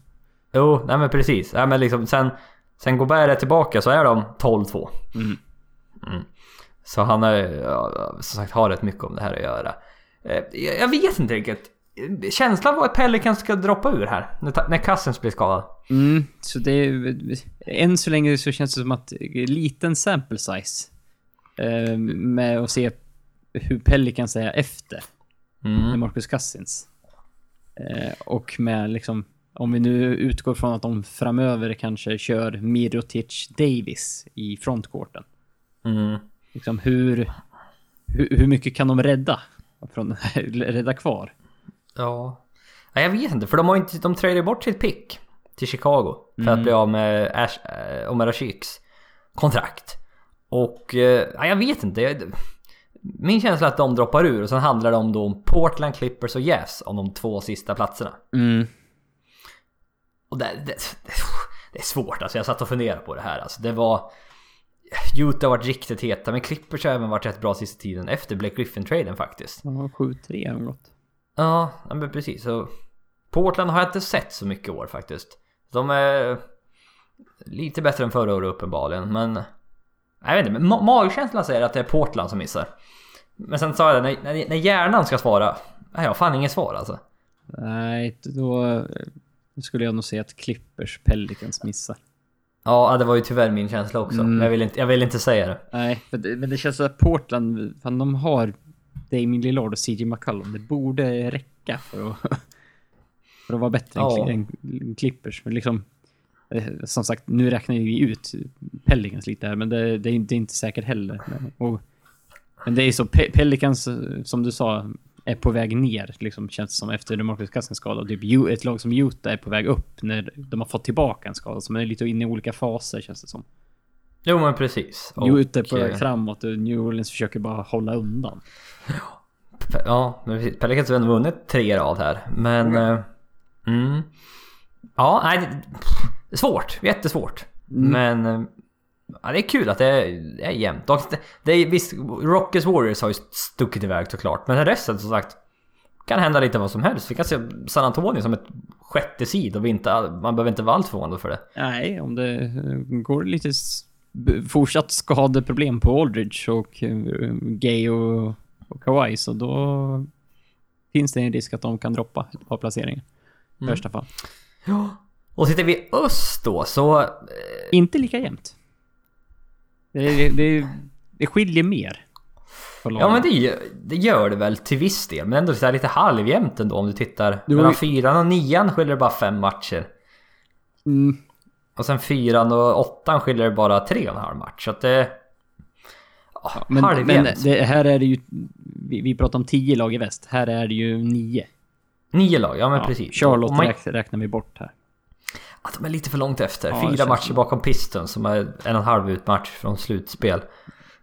S1: Jo, nej men precis. Nej, men liksom, sen, sen Gobert är tillbaka så är de 12-2.
S2: Mm.
S1: Mm. Så han har ja, som sagt har rätt mycket om det här att göra. Eh, Jag jag vet inte riktigt. Eh, Känslan var att Pelicans ska droppa ur här när, ta- när Cousins blir skadad.
S2: Mm, så det är, än så länge så känns det som att liten sample size. Eh, med att se hur Pelicans är efter. med
S1: Mm.
S2: Marcus Cousins. Eh, och med liksom Om vi nu utgår från att de framöver kanske kör Mirotic Davis i frontcourten.
S1: Mm.
S2: Liksom hur, hur, hur mycket kan de rädda? Från, [laughs] rädda kvar?
S1: Ja. Nej, jag vet inte, för de har ju inte, de trade bort sitt pick till Chicago för att bli av med Ash, eh, Omar Ashiks kontrakt. Och eh, nej, jag vet inte. Jag, min känsla är att de droppar ur och sen handlar det om då om Portland Clippers och Jazz om de två sista platserna.
S2: Mm.
S1: Och det, det, det är svårt alltså, jag satt och funderade på det här alltså. Det var... Utah har varit riktigt heta, men Clippers har även varit rätt bra sista tiden efter Blake Griffin-traden faktiskt.
S2: De har 7-3 eller något.
S1: Ja, ja, men precis. Så Portland har jag inte sett så mycket i år faktiskt. De är lite bättre än förra året uppenbarligen, men... Jag vet inte, men ma- magkänslan säger att det är Portland som missar. Men sen sa jag det, när, när, när hjärnan ska svara, nej, jag har fan inget svar alltså.
S2: Nej, då eh, skulle jag nog säga att Clippers Pelicans missar.
S1: Ja, ja, det var ju tyvärr min känsla också.
S2: Mm.
S1: Men jag vill, inte, jag vill inte säga det.
S2: Nej, för det, men det känns så att Portland, fan de har Damien Lillard och CJ McCollum. Det borde räcka för att, [laughs] för att vara bättre
S1: Ja.
S2: än, Cl- än Clippers. Men liksom, eh, som sagt, nu räknar ju vi ut Pelicans lite här, men det, det, är, inte- det är inte säkert heller. Men, och, men det är så, Pe- Pelicans, eh, som du sa, är på väg ner, liksom, känns det som, efter DeMarcus Cousins skada. Och Typ, Ju- ett lag som Utah är på väg upp när de har fått tillbaka en skada, så man är lite inne i olika faser, känns det som.
S1: Jo men precis.
S2: Jo, ute på
S1: Och,
S2: väg
S1: eh,
S2: framåt och New Orleans försöker bara hålla undan.
S1: Pe- Ja, men precis. Pelicans har ändå vunnit tre rad här. Men... eh, Mm. Ja, nej. det- det är Svårt. Jättesvårt. Men... eh, Ja, det är kul att det är, det är jämnt. Och det, det är, visst, Rockets Warriors har ju stuckit iväg såklart. Men resten som sagt. Kan hända lite vad som helst. Vi kan se San Antonio som ett sjätte seed och vi inte, all- man behöver inte vara allt förvånad för det.
S2: Nej, om det eh, går lite s- b- fortsatt skadeproblem på Aldridge och eh, Gay och, och Kawhi så då finns det en risk att de kan droppa ett par placeringar. I värsta fall.
S1: Ja. Och sitter vi i öst då så... eh,
S2: Inte lika jämnt. Det, det, det skiljer mer.
S1: Ja
S2: på lagen.
S1: men det, gör- det gör det väl till viss del. Men ändå så här lite halvjämnt ändå om du tittar.
S2: Jo,
S1: Mellan
S2: i-
S1: fyran och nian skiljer det bara fem matcher.
S2: Mm,
S1: Och sen fyran och åttan skiljer det bara tre och en halv match. Så att det... Ja,
S2: men, men
S1: halvjämnt.
S2: det, här är det ju... Vi, vi pratar om tio lag i väst. Här är det ju nio.
S1: Nio lag, ja men
S2: Ja,
S1: precis.
S2: Charlotte
S1: Om man,
S2: räk- räknar vi bort här.
S1: Ja, de är lite för långt efter.
S2: Ja, det
S1: Fyra
S2: känns
S1: matcher
S2: så.
S1: bakom Pistons som är en och en halv utmatch från slutspel.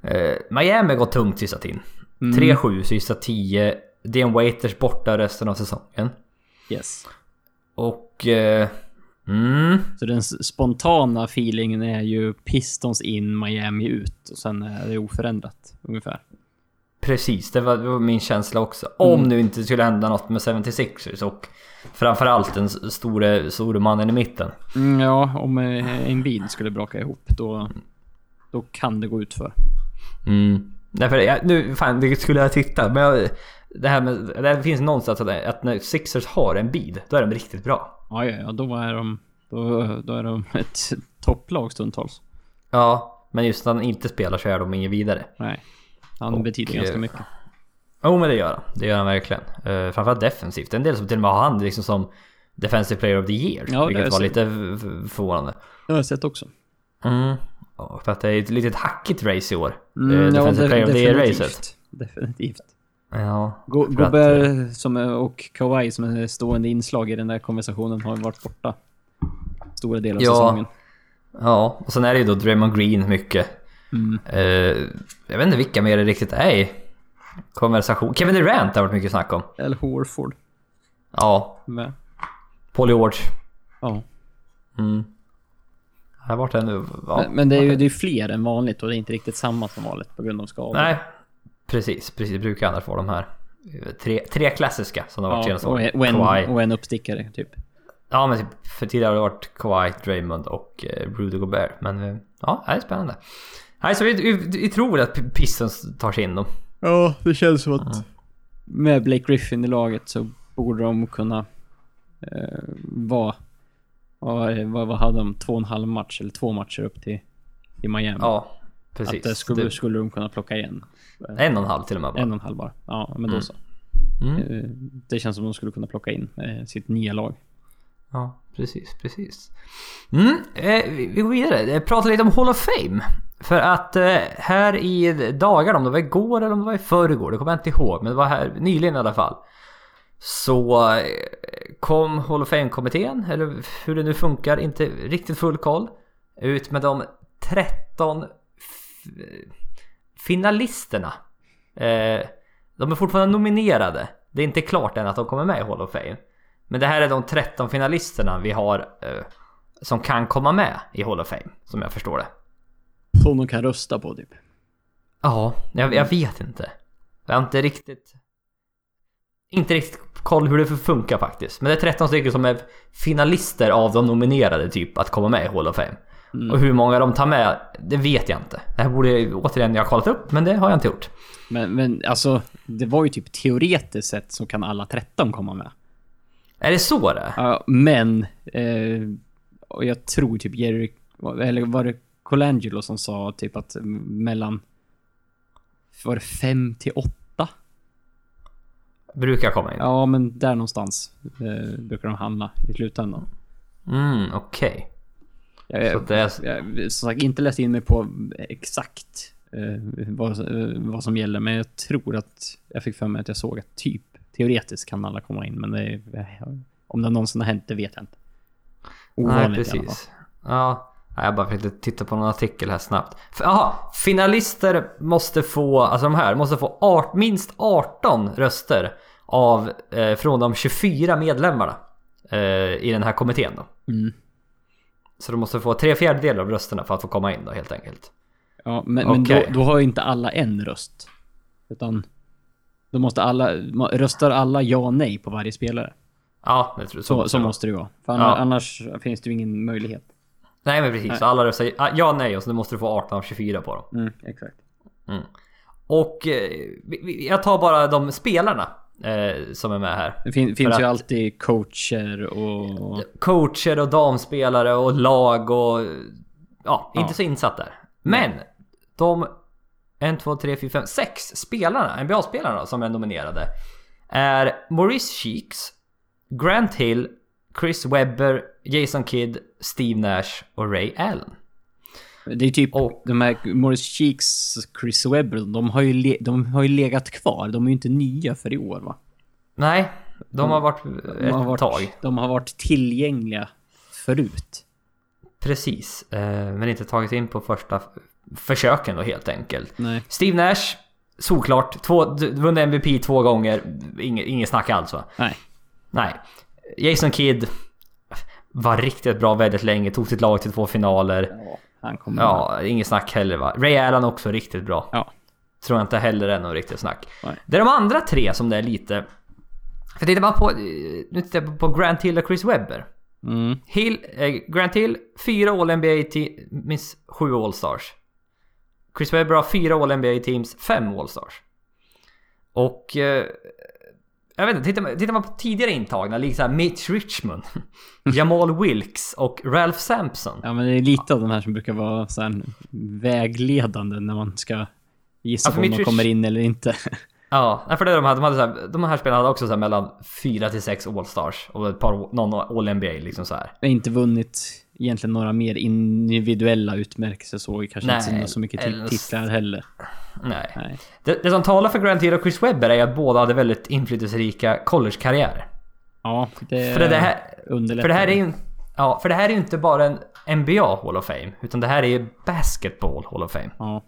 S1: Eh, Miami går tungt sista tiden.
S2: Mm.
S1: 3-7 sista 10. Dean Waiters borta resten av säsongen.
S2: Yes.
S1: Och... Eh, mm.
S2: Så den s- spontana feelingen är ju Pistons in, Miami ut och sen är det oförändrat ungefär.
S1: Precis, det var, det var min känsla också. Om
S2: Mm.
S1: nu inte skulle hända något med 76ers och framförallt den s- store, store mannen i mitten.
S2: Mm, ja, om eh, en bil skulle braka ihop då, då kan det gå ut för.
S1: Mm. Därför, jag, nu, fan, det skulle jag titta. Men jag, det här med, det finns någonstans att, att när Sixers har en bid, då är de riktigt bra.
S2: Ja, ja, ja då är de, då, då är de ett topplag stundtals.
S1: Ja, men just när han inte spelar så är de ingen vidare.
S2: Nej. Han
S1: Och,
S2: betyder
S1: eh,
S2: ganska mycket.
S1: Jo men det gör han. Det gör han verkligen. Eh, framförallt defensivt. En del som till och med har han liksom som Defensive Player of the Year.
S2: Ja, det är
S1: vilket var
S2: så.
S1: lite f- f- förvånande.
S2: Det har jag sett också.
S1: Mm. Och för att det är ett litet hackigt race i år.
S2: Mm,
S1: Eh,
S2: ja,
S1: Defensive
S2: de-
S1: Player of the Year-racet.
S2: definitivt. Definitivt.
S1: Ja.
S2: Go-
S1: För att,
S2: Gobert som är, och Kawhi som är stående inslag i den där konversationen har ju varit borta stora delar av
S1: Ja.
S2: säsongen.
S1: Ja, och sen är det ju då Draymond Green mycket.
S2: Mm.
S1: Eh, jag vet inte vilka mer det riktigt är i konversation. Kevin Durant har varit mycket snack om.
S2: Eller Horford.
S1: Ja,
S2: Med.
S1: Paul George.
S2: Ja.
S1: Mm. Här vart det nu? Ja.
S2: Men, men det är ju det är fler än vanligt och det är inte riktigt samma som vanligt på grund av skador.
S1: Nej, precis. Precis, det brukar annars vara de här. eh, Tre, tre klassiska som det har varit
S2: Ja,
S1: senaste
S2: och,
S1: året.
S2: en- och, en,
S1: Kawhi.
S2: och en uppstickare typ.
S1: Ja, men typ, för tidigare har det varit Kawhi, Draymond och eh, Rudy Gobert. Men eh, ja, det är spännande. Nej, så vi, vi, vi tror att P- Pistons tar sig in dem.
S2: Ja, det känns som att med Blake Griffin i laget så borde de kunna eh, vara... Vad, vad, vad hade de? Två och en halv match eller två matcher upp till, till Miami.
S1: Ja,
S2: att
S1: precis.
S2: det skulle,
S1: Det-
S2: skulle de kunna plocka igen.
S1: En och en halv till och med bara.
S2: En och en halv bara. Ja, men då så.
S1: Mm.
S2: Eh, Det känns som de skulle kunna plocka in eh, sitt nya lag.
S1: Ja, precis, precis. Mm, eh, vi vi går vidare. Eh, Prata lite om Hall of Fame. För att eh, här i dagarna, om det var igår eller om det var i förrgår, det kommer jag inte ihåg, men det var här nyligen i alla fall. Så eh, kom Hall of Fame-kommittén, eller hur det nu funkar, inte riktigt full koll, ut med de 13 f- finalisterna. Eh, de är fortfarande nominerade. Det är inte klart än att de kommer med i Hall of Fame. Men det här är de 13 finalisterna vi har eh, som kan komma med i Hall of Fame, som jag förstår det.
S2: Som de kan rösta på typ.
S1: Ja, jag, jag vet inte. Jag har inte riktigt... Inte riktigt koll hur det funkar faktiskt. Men det är 13 stycken som är finalister av de nominerade typ att komma med i Hall of Fame. Och hur många de tar med, det vet jag inte. Det här borde jag, återigen jag ha kollat upp, men det har jag inte gjort.
S2: Men, men alltså, det var ju typ teoretiskt sett så kan alla 13 komma med.
S1: Är det så det är?
S2: Ja, men... Eh, och jag tror typ Jerry... Eller var det Colangelo som sa typ att mellan... Var det 5 till 8?
S1: Brukar komma in.
S2: Ja, men där någonstans eh, brukar de hamna i slutändan.
S1: Mm, okej.
S2: Jag,
S1: Så
S2: jag,
S1: att det är...
S2: jag som sagt inte läst in mig på exakt eh, vad, eh, vad som gäller, men jag tror att jag fick för mig att jag såg att typ teoretiskt kan alla komma in, men det, är- eh, om det någonsin har hänt, det vet jag inte.
S1: Nej,
S2: i alla fall.
S1: precis. Ja. Nej, jag bara försökte titta på någon artikel här snabbt. F- Jaha, finalister måste få, alltså de här, måste få art, minst 18 röster av, eh, från de 24 medlemmarna eh, i den här kommittén då.
S2: Mm.
S1: Så de måste få tre fjärdedelar av rösterna för att få komma in då helt enkelt.
S2: Ja, men, men då,
S1: Okej.
S2: då har ju inte alla en röst. Utan då måste alla, ma- röstar alla ja och nej på varje spelare.
S1: Ja, det tror, så, måste det
S2: Så, så
S1: vara.
S2: måste det ju vara. För
S1: Ja.
S2: annars, annars finns det ju ingen möjlighet.
S1: Nej men precis, Så alla röstar ah, ja nej och så nu måste du få 18 av 24 på dem. Mm.
S2: Mm, exakt.
S1: Och eh, vi- vi- jag tar bara de spelarna eh, som är med här.
S2: Det fin, finns ju
S1: att-
S2: alltid coacher och...
S1: coacher och damspelare och lag och ja,
S2: Ja.
S1: inte så insatt där. Men de 1, 2, 3, 4, 5, 6 spelarna, NBA-spelarna då, som är nominerade är Maurice Cheeks, Grant Hill, Chris Webber, Jason Kidd, Steve Nash och Ray Allen.
S2: Det är typ
S1: Och-
S2: de här Morris Cheeks, Chris Webber, de har, ju le, de har ju legat kvar. De är ju inte nya för i år va?
S1: Nej, de har varit
S2: Mm. De
S1: ett
S2: har varit,
S1: tag.
S2: De har varit tillgängliga förut.
S1: Precis, eh, men inte tagit in på första f- försöken då helt enkelt.
S2: Nej.
S1: Steve Nash, såklart. Två, du- du vunnit MVP två gånger. Inge, ingen snack alls va?
S2: Nej.
S1: Nej. Jason Kidd var riktigt bra väldigt länge. Tog sitt lag till två finaler.
S2: Ja, han kommer med.
S1: Ja, inget snack heller va? Ray Allen också riktigt bra.
S2: Ja.
S1: Tror jag inte heller är något riktigt snack.
S2: Nej.
S1: Det är de andra tre som det är lite... För tittar man på... eh, Nu tittar jag på Grant Hill och Chris Webber.
S2: Mm.
S1: Hill, eh, Grant Hill, fyra All-NBA-teams, sju All-Stars. Chris Webber har fyra All-NBA-teams, fem All-Stars. Och... Eh, jag vet inte, tittar man, tittar man på tidigare intagna, liksom Mitch Richmond, [laughs] Jamal Wilkes och Ralph Sampson.
S2: Ja, men det är lite av de här som brukar vara så här vägledande när man ska gissa
S1: Ja, för
S2: på om
S1: mitt
S2: de
S1: vis-
S2: kommer in eller inte. [laughs]
S1: Ja, nej, för det är de här, de, hade så här, de här spelarna hade också så här mellan fyra till sex All-Stars och ett par, någon All-NBA liksom så här.
S2: Jag har inte vunnit egentligen några mer individuella utmärkelser så. Kanske
S1: Nej,
S2: inte så mycket
S1: eller-
S2: till titlar heller.
S1: Nej.
S2: Nej.
S1: Det, det som talar för Grant Hill och Chris Webber är att båda hade väldigt inflytelserika college-karriärer.
S2: Ja, det,
S1: För det här-
S2: underlättar.
S1: För det här är ju en- ja, för det här är ju inte bara en NBA Hall of Fame, utan det här är ju Basketball Hall of Fame.
S2: Ja.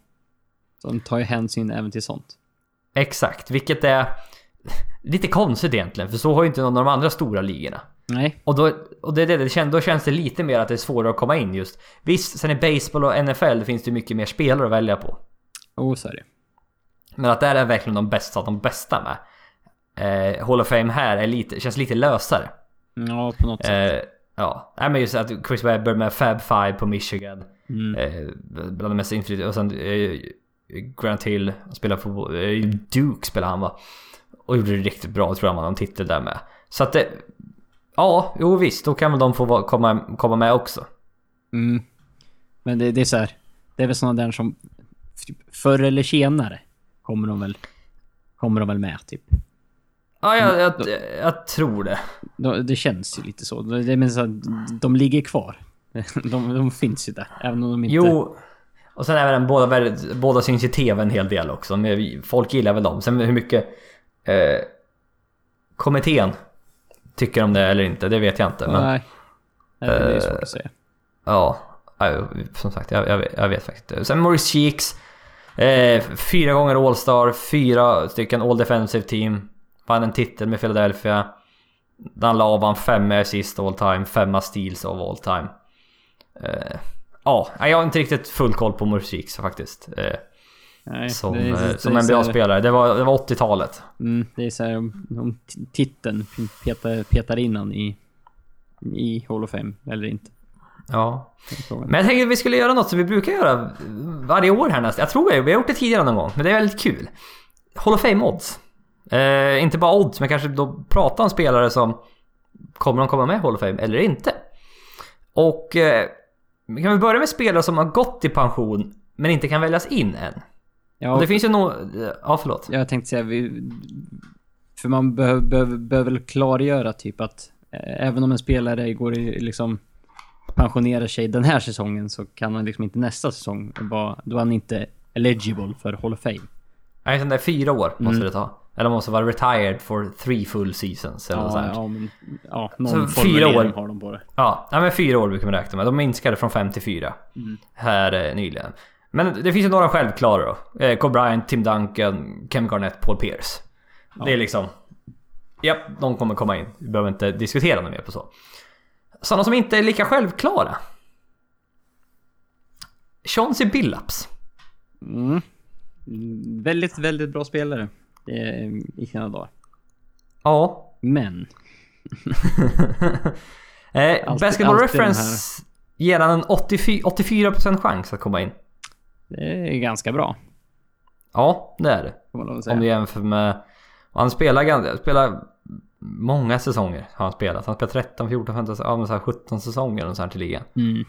S2: De tar ju hänsyn även till sånt.
S1: Exakt, vilket är [laughs] lite konstigt egentligen, för så har ju inte någon av de andra stora ligorna.
S2: Nej.
S1: Och, då, och det, är det, det kän, då känns det lite mer att det är svårare att komma in just. Visst, sen i baseball och NFL det finns det ju mycket mer spelare att välja på.
S2: Oh, så är det.
S1: Men att där är verkligen de bästa av de bästa med. Eh, Hall of Fame här är lite, känns lite lösare.
S2: Ja, på något sätt.
S1: Eh, ja, Nej, men just att Chris Webber med Fab Five på Michigan.
S2: Mm.
S1: Eh, bland de mest inflytande. Och sen eh, Grant Hill spelar fotboll. Eh, Duke spelar han va? Och gjorde det riktigt bra. Tror jag man har en titel där med. Så att det... Ja, jo visst. Då kan väl de få vara- komma, komma med också.
S2: Mm. Men det, det är så här. Det är väl såna där som typ, förr eller senare kommer de väl, kommer de väl med typ.
S1: Ja, jag, jag, jag tror det.
S2: Då- Det känns ju lite så. Det det- men så här, de ligger kvar. [laughs] De, de finns ju där, även om de inte...
S1: Jo. Och sen även båda, väldigt- båda syns i tv en hel del också. Men Folk gillar väl dem. Sen hur mycket eh, kommittén tycker om det eller inte, det vet jag inte. Men
S2: Nej. Nej, det är svårt att säga.
S1: ja, ja, som sagt, jag, jag, vet- jag vet faktiskt inte. Sen Maurice Cheeks. Eh, fyra gånger All-Star, fyra stycken All Defensive Team. Vann en titel med Philadelphia. Dan Laban femma assist all time, femma steals of all time. Eh, ja, jag har inte riktigt full koll på Maurice Cheeks faktiskt. Eh,
S2: Nej,
S1: som,
S2: det är- det
S1: eh,
S2: är
S1: som
S2: så här-
S1: NBA-spelare. Det var, det var 80-talet.
S2: Mm, det är så här om, om t- titeln petar, petar in han i, i Hall of Fame eller inte.
S1: Ja.
S2: Det är frågan.
S1: Men jag tänkte att vi skulle göra något som vi brukar göra varje år här nästan. Jag tror vi vi har gjort det tidigare någon gång, men det är väldigt kul. Hall of Fame-odds. Eh, inte bara odds, men kanske då prata om spelare som kommer de komma med i Hall of Fame eller inte. Och eh, kan vi börja med spelare som har gått i pension men inte kan väljas in än?
S2: Ja,
S1: Och det finns ju nog... Ja, förlåt.
S2: Jag tänkte säga, vi, för man behöver behöver behöver väl klargöra typ att eh, även om en spelare går i, liksom pensionerar sig den här säsongen så kan han liksom inte nästa säsong vara, då är han inte eligible för Hall of Fame.
S1: Nej, sån där fyra år
S2: Mm.
S1: måste det ta. Eller måste vara retired for three full seasons eller något sånt.
S2: Ja,
S1: här.
S2: ja, men, ja någon
S1: Så fyra
S2: formulering
S1: år.
S2: har de på det.
S1: Ja, nej, men fyra år brukar man räkna med. De minskade från fem till fyra
S2: Mm.
S1: här eh, nyligen. Men det finns ju några självklara då. Eh, Kobe Bryant, Tim Duncan, Kevin Garnett, Paul Pierce. Det är liksom... Japp, de kommer komma in. Vi behöver inte diskutera något mer på så. Sådana som inte är lika självklara. Chauncey Billups.
S2: Mm. Mm, Väldigt, väldigt bra spelare eh, i sina dagar.
S1: Ja.
S2: Men
S1: eh,
S2: Alltid-
S1: basketball
S2: alltid den
S1: reference ger han en 84, 84% chans att komma in.
S2: det är ganska bra.
S1: Ja, det är det.
S2: Får man lov att
S1: Om du
S2: säga.
S1: jämför med... och Han spelar, ganska- spelar många säsonger. Har han spelat. Han spelar 13, 14, 15, ja, men så här 17 säsonger och så här till ligan.
S2: Mm.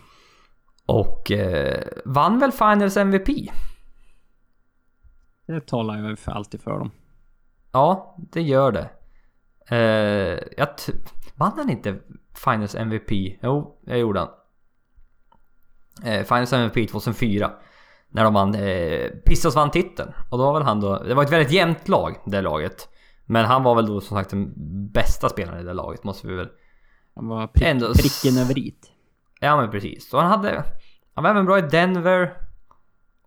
S1: Och eh, vann väl Finals MVP?
S2: Det talar ju för alltid för dem.
S1: Ja, det gör det. Eh, jag t- vann han inte Finals MVP? Jo, jag gjorde han. Eh, Finals MVP 2004. När de vann, eh, Pistons vann titeln. Och då var väl han då, det var ett väldigt jämnt lag, det laget. Men han var väl då som sagt den bästa spelaren i det laget, måste vi väl
S2: Han var prick,
S1: Ändå s-
S2: pricken över it.
S1: Ja men precis. Och han hade... Han var även bra i Denver.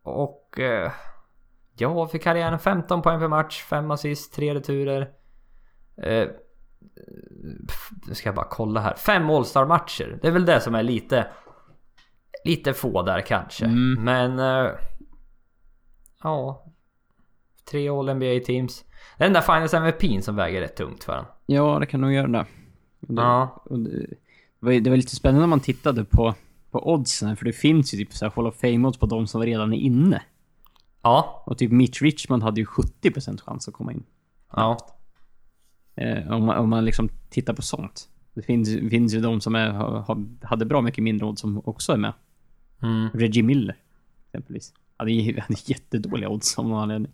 S1: Och... Eh, ja, fick karriären 15 poäng per match, 5 assist, 3 returer. Eh, f- nu ska jag bara kolla här. Fem All-Star-matcher. Det är väl det som är lite... Lite få där kanske.
S2: Mm.
S1: Men... Eh, ja... Tre All-NBA-teams. Den där Finals MVP'n som väger rätt tungt för honom.
S2: Ja, det kan nog göra det. Och det,
S1: Ja.
S2: och det, det, var, ju- det var lite spännande när man tittade på, på oddsen, för det finns ju typ så här Hall of Fame-odds på de som redan är inne.
S1: Ja.
S2: Och typ Mitch Richmond hade ju 70% chans att komma in.
S1: Ja.
S2: Eh, om, man, om man liksom tittar på sånt. Det finns, finns ju de som är, har, har- hade bra mycket mindre odds som också är med.
S1: Mm.
S2: Reggie Miller, exempelvis. Hade, ju- hade jättedåliga odds om någon anledning.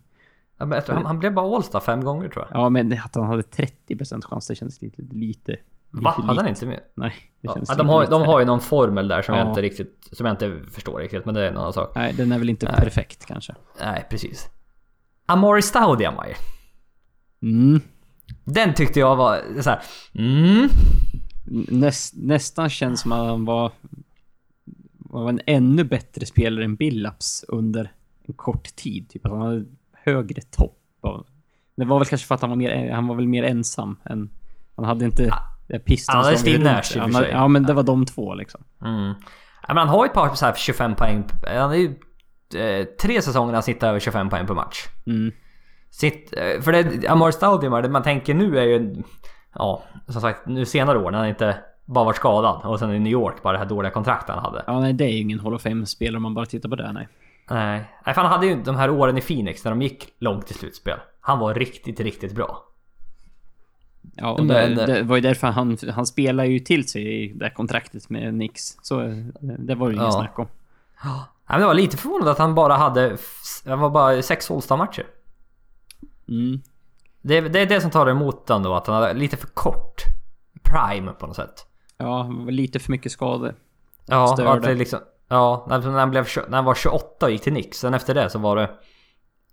S1: Ja, men jag tror Han, han blev bara All-Star fem gånger tror jag.
S2: Ja, men att han hade 30% chans, det känns lite... lite, lite
S1: Va? Hade
S2: lite.
S1: han inte med?
S2: Nej, det
S1: Ja,
S2: känns
S1: de,
S2: lite
S1: har,
S2: lite.
S1: de har ju någon formel där som jag
S2: Ja.
S1: inte riktigt som jag inte förstår riktigt, men det är en annan sak.
S2: Nej, den är väl inte perfekt kanske.
S1: Nej, precis. Amari Stoudemire.
S2: Mm.
S1: Den tyckte jag var så här. Mm.
S2: Näst, nästan känns som att han var, var en ännu bättre spelare än Billups under en kort tid. Typ att han hade högre topp. av- Det var väl kanske för att han var mer, han var väl mer ensam. Än, han hade inte ja, pistan
S1: Ah, han hade
S2: som var
S1: Steve
S2: runt
S1: Nash i
S2: sig.
S1: och
S2: Han
S1: för
S2: hade-
S1: sig.
S2: Ja, men det var de två liksom.
S1: Mm. Ja, men han har ju ett par så här 25 poäng. Han är ju eh, tre säsonger när han sitter över 25 poäng per match.
S2: Mm.
S1: Sitt, eh, för det, Amari Stoudemire, det man tänker nu är ju... Ja, som sagt, nu senare år när han inte bara varit skadad och sen i New York bara det här dåliga kontraktet han hade.
S2: Ja, nej, det är ju ingen Hall of Fame-spelare om man bara tittar på det. Nej.
S1: Nej. Nej, för han hade ju de här åren i Phoenix när de gick långt i slutspel. Han var riktigt, riktigt bra.
S2: Ja, och
S1: Men- eh,
S2: det, det var ju därför han, han spelade ju till sig i det här kontraktet med Nix. Så eh, det var ju inget
S1: Ja.
S2: snack om.
S1: Nej, men det var lite förvånande att han bara hade... f- Han var bara sex All-Star-matcher.
S2: Mm.
S1: Det, är- det är det som talar emot den då, att han är lite för kort. Prime på något sätt.
S2: Ja, lite för mycket skador.
S1: Ja,
S2: Störde.
S1: och att det liksom... Ja, alltså när han, blev, tjo- när han var 28 och gick till Nix. Sen efter det så var det...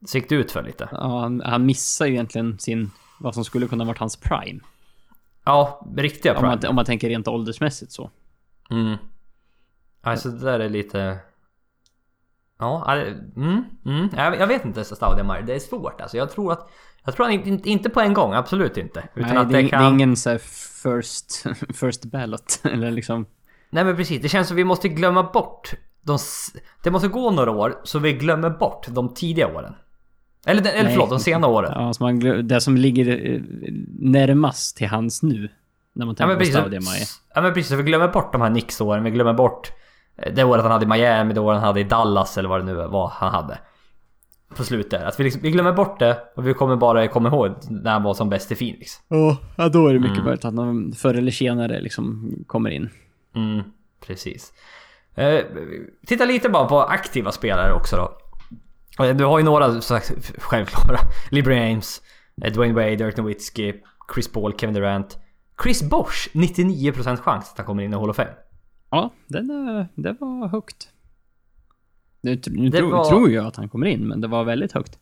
S1: Så gick det ut för lite.
S2: Ja, han, han missar ju egentligen sin, vad som skulle kunna varit hans prime.
S1: Ja, riktiga
S2: Om
S1: prime.
S2: man, om man tänker rent åldersmässigt så.
S1: Mm. Alltså det där är lite... Ja, ja, det- mm, mm. Jag jag vet inte Staudemeyer, det är svårt alltså. Jag tror att... Jag tror att inte, inte på en gång, absolut inte. Utan
S2: Nej,
S1: att
S2: det,
S1: det,
S2: är-
S1: kan...
S2: det är ingen så här first, [laughs] first ballot. [laughs] Eller liksom...
S1: Nej men precis, det känns som vi måste glömma bort de... s- Det måste gå några år så vi glömmer bort de tidiga åren. Eller, den- eller
S2: Nej.
S1: förlåt, de sena åren.
S2: Ja, som man, glö- det som ligger eh, närmast till hans nu. När man
S1: Ja
S2: tänker
S1: men
S2: på
S1: precis.
S2: Staudemeyer.
S1: Ja men precis, vi glömmer bort de här Knicks-åren. Vi glömmer bort eh, det året han hade i Miami, det året han hade i Dallas eller vad det nu var han hade. På slutet. Att vi, liksom, vi glömmer bort det och vi kommer bara komma ihåg när han var som bäst i Phoenix.
S2: Ja, ja, då är det mycket möjligt att han förr eller senare liksom kommer in.
S1: Mm, precis. Eh, titta lite bara på aktiva spelare också då. Eh, Du har ju några som sagt, självklara. [laughs] LeBron James, eh, Dwayne Wade, Dirk Nowitzki, Chris Paul, Kevin Durant. Chris Bosh, 99% chans att han kommer in i Hall of Fame.
S2: Ja, den, är- det var högt. Nu, tr- nu
S1: Det
S2: tro,
S1: var-
S2: tror jag att han kommer in, men det var väldigt högt.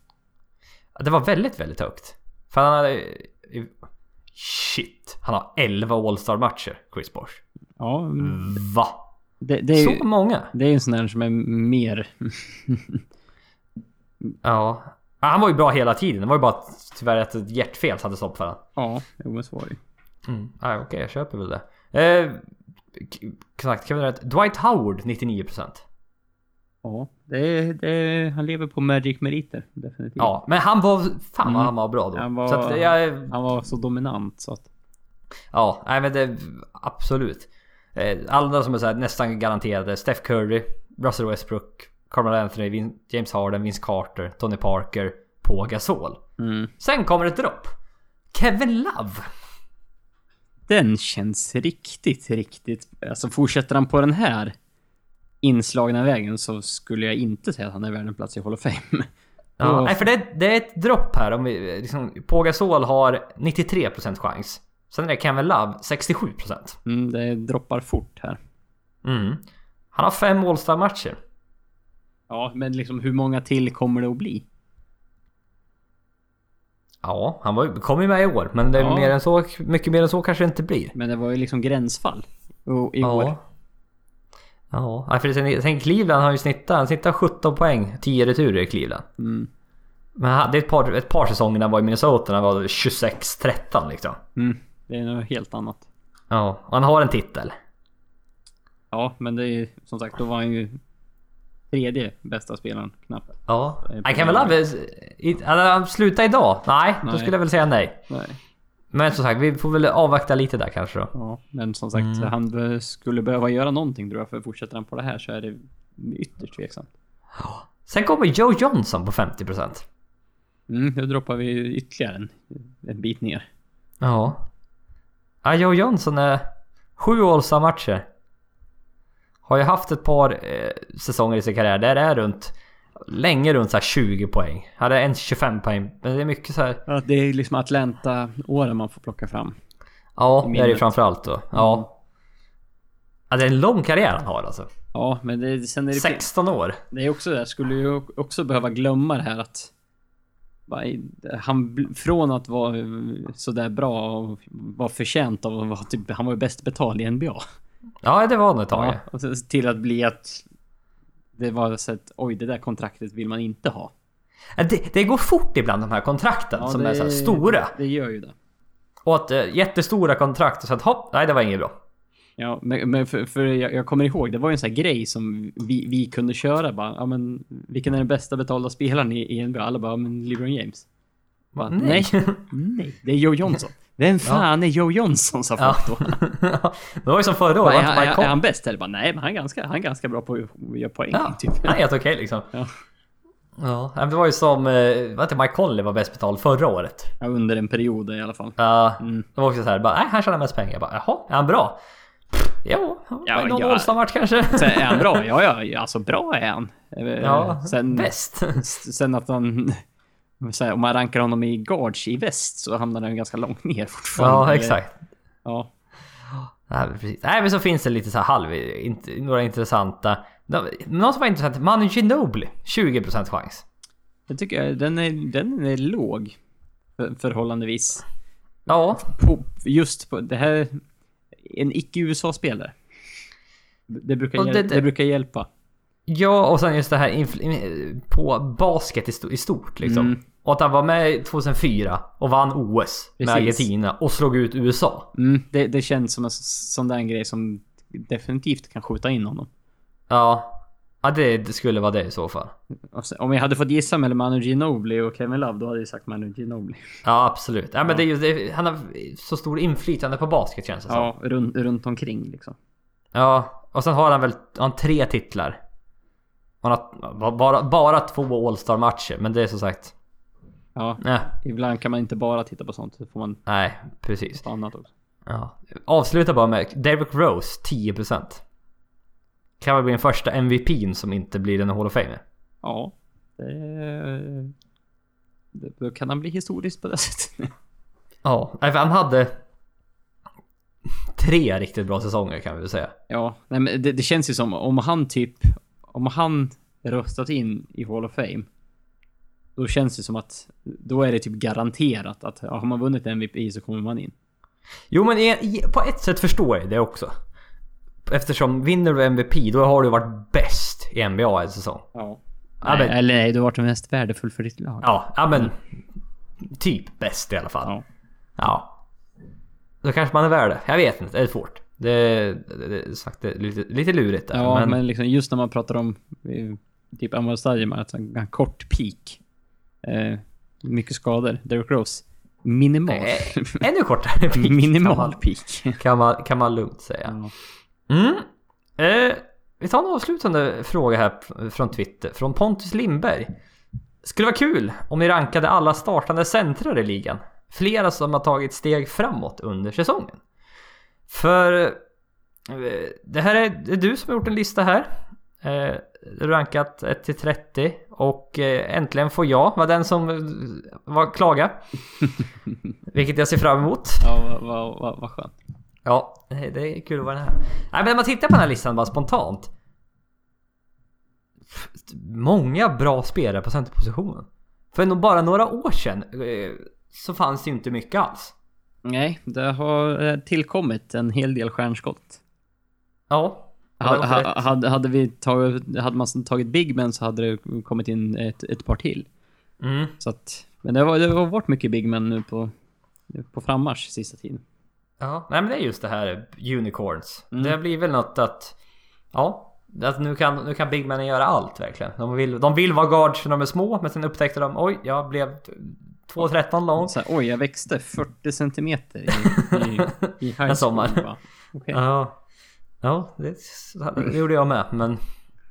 S1: Ja, Det var väldigt, väldigt högt. För han hade... Shit. Han har 11 All-Star-matcher, Chris Bosh.
S2: Ja, mm.
S1: Va?
S2: det, det är ju
S1: Så många?
S2: det är ju en sån där som är mer... [laughs]
S1: Ja. Ja, Han var ju bra hela tiden. Det var ju bara att, tyvärr att ett hjärtfel satte stopp för honom.
S2: ja, jo men så var det ju.
S1: Mm. Ah, Okej, jag köper väl det. Eh, k- Exakt, kan vi rätt? Dwight Howard 99%.
S2: Ja, det, är- det, är- han lever på magic-meriter. Definitivt.
S1: Ja, men han var... Fan vad
S2: Mm.
S1: han var bra då.
S2: Han var-
S1: Så att jag...
S2: Han var så dominant så att...
S1: Ja, nej men det... Absolut. Eh, Alla som är så här, nästan garanterade. Steph Curry, Russell Westbrook, Carmelo Anthony, Vin- James Harden, Vince Carter, Tony Parker, Paul Gasol.
S2: Mm.
S1: Sen kommer ett dropp. Kevin Love.
S2: Den känns riktigt, riktigt... Alltså fortsätter han på den här inslagna vägen så skulle jag inte säga att han är värd en plats i Hall of Fame.
S1: Ja,
S2: [laughs] Och-
S1: nej, för det, det är ett dropp här. Om vi, liksom, Pogasol har 93% chans. Sen är det Kevin Love 67%.
S2: Mm, det droppar fort här.
S1: Mm. Han har fem All-Star-matcher.
S2: Ja, men liksom hur många till kommer det att bli?
S1: Ja, han var, ju- kom ju med i år. Men det är
S2: Ja.
S1: mer än så, mycket mer än så kanske det inte blir.
S2: Men det var ju liksom gränsfall. Och i år.
S1: Ja. Ja, nej, för sen, sen Cleveland har ju snittat, han snittar 17 poäng, 10 returer i Cleveland.
S2: Mm.
S1: Men han- det är ett par, ett par säsonger när han var i Minnesota, när han var 26-13 liksom.
S2: Mm. Det är något helt annat.
S1: Ja, och han har en titel.
S2: Ja, men det är ju som sagt, då var han ju tredje bästa spelaren knappt.
S1: Ja.
S2: Det är
S1: Han kan väl
S2: problem.
S1: aldrig- hade han slutat idag? Nej, då
S2: Nej.
S1: skulle jag väl säga nej.
S2: Nej.
S1: Men som sagt, vi får väl avvakta lite där kanske då.
S2: Ja, men som sagt, han be- skulle behöva göra någonting tror jag, för fortsätter han på det här så är det ytterst tveksamt.
S1: Sen kommer Joe Johnson på 50%.
S2: Mm, nu droppar vi ju ytterligare en, en bit ner.
S1: Ja. Ja, Joe Johnson är sju all matcher Har ju haft ett par eh, säsonger i sin karriär där det är runt, länge runt så här 20 poäng. Hade en 25 poäng, men det är mycket så här.
S2: Ja, det är ju liksom Atlanta-åren man får plocka fram.
S1: Ja, det är det ju
S2: minnet. Mm.
S1: framförallt då. Ja. ja. Det är en lång karriär han har alltså.
S2: Ja, men det, sen är det...
S1: 16 år.
S2: Det är också det, jag skulle ju också behöva glömma det här att va, i- han, bl- från att vara eh, sådär bra och var förtjänt av att vara typ, han var ju bäst betald i NBA.
S1: Ja, det var nog ett tag. ja.
S2: Och sen till att bli att det var så att oj, det där kontraktet vill man inte ha.
S1: Ja, Det, det går fort ibland de här kontrakten
S2: Ja,
S1: som
S2: det-
S1: är så här stora.
S2: Det gör ju det.
S1: Och att eh, jättestora kontrakt och så att hopp, nej det var
S2: [laughs]
S1: inget bra.
S2: Ja, men, men för, för jag, jag kommer ihåg, det var ju en sån här grej som vi, vi kunde köra bara. Ja, men vilken är den bästa betalda spelaren i, i NBA? Alla bara, ja, men LeBron James. Bara, nej.
S1: [laughs]
S2: Nej, det är Joe Johnson. Vem fan är Joe Johnson sa
S1: Ja.
S2: folk då?
S1: det var ju som förra
S2: Bara,
S1: året.
S2: är,
S1: att man
S2: han- är,
S1: kom-
S2: han bäst eller? Bara, nej, men han är ganska, han är ganska bra på att göra poäng.
S1: Ja, [laughs]
S2: Typ.
S1: han är helt okej liksom.
S2: Ja.
S1: Ja, men det var ju som, eh, var inte Mike Conley var bäst betald förra året?
S2: Ja, Under en period i alla fall.
S1: Ja,
S2: Mm.
S1: det var också så här, bara, nej han tjänar mest pengar. Jag bara, jaha, är han bra? Pff, Jo, han
S2: Ja,
S1: var i någon
S2: ja.
S1: All-Star-match kanske.
S2: [laughs] Sen, är han bra? Ja, ja, alltså bra är han. Eh,
S1: [laughs] ja,
S2: sen,
S1: bäst.
S2: s- sen att han Så här, om man rankar honom i guards i väst så hamnar han ganska långt ner fortfarande.
S1: [laughs] Ja,
S2: Eller-
S1: exakt.
S2: Ja.
S1: Nej, men precis. Nej, men så finns det lite så här halv... Inte, några intressanta... Nå- Någon som var intressant, Manu Ginobili. 20% chans.
S2: Jag tycker jag, den är, den är låg. för- Förhållandevis.
S1: Ja,
S2: På, just på det här... En icke-USA-spelare. Det brukar,
S1: Och
S2: hjäl-
S1: det-
S2: det, brukar hjälpa.
S1: ja och sen just det här infl- in- på basket i, sto- i stort liksom.
S2: Mm.
S1: Och att han var med 2004 och vann OS med
S2: Precis.
S1: Argentina och slog ut USA.
S2: Mm, det, det känns som en s- sån där grej som definitivt kan skjuta in honom.
S1: Ja. Ja, det, det skulle vara det i så fall.
S2: Och sen, om jag hade fått gissa mellan Manu Ginobili och Kevin Love, då hade jag sagt Manu Ginobili.
S1: Ja, absolut. Ja, men det är just det, han har så stor inflytande på basket känns det som.
S2: Ja, runt, runt omkring liksom.
S1: Ja, och sen har han väl han har tre titlar. Han har bara, bara två All-Star-matcher, men det är som sagt...
S2: Ja,
S1: Nej,
S2: ibland kan man inte bara titta på sånt. Då får man
S1: nej precis.
S2: på annat också.
S1: Ja. Avsluta bara med Derrick Rose, 10%. Kan väl bli den första MVP'n som inte blir den Hall of Fame.
S2: Ja. Det, det, då kan han bli historisk på det sättet.
S1: Ja, nej, för han hade... Tre riktigt bra säsonger kan vi väl säga.
S2: Ja, nej, men det, det känns ju som om han typ... Om han röstat in i Hall of Fame. Då känns det som att då är det typ garanterat att ja, har man vunnit MVP så kommer man in.
S1: Jo men i- i- på ett sätt förstår jag det också. Eftersom vinner du MVP då har du varit bäst i NBA en säsong.
S2: Ja.
S1: Ja,
S2: Nej,
S1: men-
S2: eller nej, du har varit den mest värdefull för ditt lag.
S1: Ja, ja men... Typ bäst i alla fall.
S2: Ja.
S1: Ja. Då kanske man är värd det. Jag vet inte, det är svårt. Det är, det är sagt, det är lite, lite lurigt där.
S2: Ja, men,
S1: men,
S2: liksom just när man pratar om eh, typ Amal Stadium, att han har en kort peak. Eh, mycket skador. Derrick Rose. Minimal.
S1: Eh, ännu kortare peak kan
S2: [laughs] Minimal
S1: man,
S2: peak.
S1: kan, man, kan man lugnt säga.
S2: Ja.
S1: Mm. Eh, vi tar en avslutande fråga här p- från Twitter. Från Pontus Lindberg. Skulle vara kul om ni rankade alla startande centrar i ligan. Flera som har tagit steg framåt under säsongen. För eh, det här är, det är du som har gjort en lista här. Eh, rankat 1 till 30 och eh, äntligen får jag vara den som eh, var klaga. Vilket jag ser fram emot.
S2: Ja, vad vad vad vad skönt.
S1: Ja, det det är kul att vara den här. Nej, men när man tittar på den här listan bara spontant. F- Många bra spelare på centerpositionen. För nog bara några år sedan eh, så fanns det ju inte mycket alls.
S2: Nej, det har eh, tillkommit en hel del stjärnskott.
S1: Ja. det var
S2: Ha,
S1: nog
S2: ha,
S1: rätt.
S2: hade, hade, vi tagit, hade man tagit Big Ben så hade det kommit in ett, ett par till.
S1: Mm.
S2: Så att, men det har, det har varit mycket Big Ben nu på, nu på frammarsch sista tiden.
S1: Ja, nej men det är just det här unicorns.
S2: Mm.
S1: Det blir väl något att... Ja, att nu kan, nu kan Big Man göra allt verkligen. De vill, de vill vara guards när de är små, men sen upptäckte de oj, jag blev 2,13 lång.
S2: Så här, oj, jag växte 40 centimeter i,
S1: [laughs]
S2: i, i high school.
S1: En sommar.
S2: va? Okej.
S1: Ja, ja det, det gjorde jag med, men... [laughs]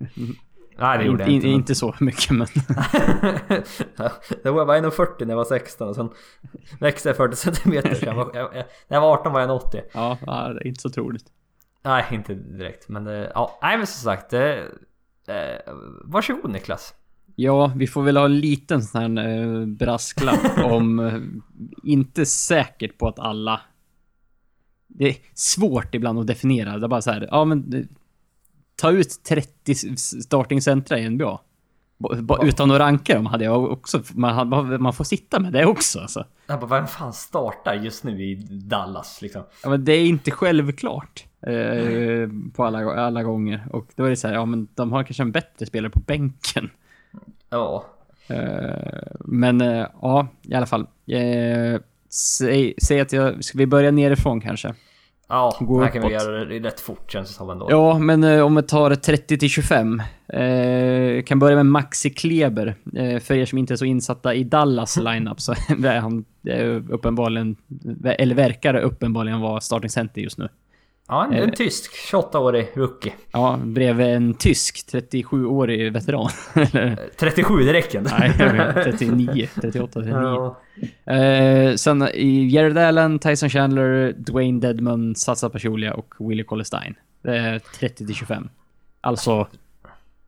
S1: Nej, det gjorde jag
S2: in,
S1: inte.
S2: in,
S1: men- [laughs]
S2: inte så mycket, men [laughs]
S1: det var jag var 1,40 när jag var 16 och sen växte jag 40 centimeter. Så jag var, jag, jag, när jag var 18 var jag 1,80.
S2: ja, ja, det är inte så troligt.
S1: Nej, inte direkt. Men det, ja, nej men som sagt. Det, eh, varsågod Niklas.
S2: Ja, vi får väl ha en liten sån här eh, brasklapp om eh, inte säkert på att alla... Det är svårt ibland att definiera. Det är bara så här, ja men... eh, Ta ut 30 s- startingcentra i NBA. Ba- ba- Utan att ranka dem hade jag också... Man, hade- man får sitta med det också alltså.
S1: Jag bara, vem fan startar just nu i Dallas liksom?
S2: Ja, men det är inte självklart eh, på alla, alla gånger. Och då är det så här, ja men de har kanske en bättre spelare på bänken.
S1: Ja.
S2: Eh, men eh, ja, i alla fall. Eh, säg, säg att jag, ska vi börja nerifrån kanske?
S1: Ja,
S2: Gå
S1: det här kan vi
S2: uppåt.
S1: göra det rätt fort känns det som ändå.
S2: Ja, men eh, om vi tar 30 till 25. Eh, jag kan börja med Maxi Kleber. Eh, för er som inte är så insatta i Dallas lineup så [laughs] är han eh, uppenbarligen, eller verkar uppenbarligen vara starting center just nu.
S1: Ja, en, en tysk 28-årig rookie.
S2: Ja, bredvid en tysk 37-årig veteran. [laughs] Eller,
S1: 37, det räcker inte.
S2: nej, jag vet, 39, 38, 39.
S1: [laughs] Ja.
S2: Eh, sen i Jared Allen, Tyson Chandler, Dwayne Dedman, Sasa Pachulia och Willie Collestein. Eh, 30 till 25. Alltså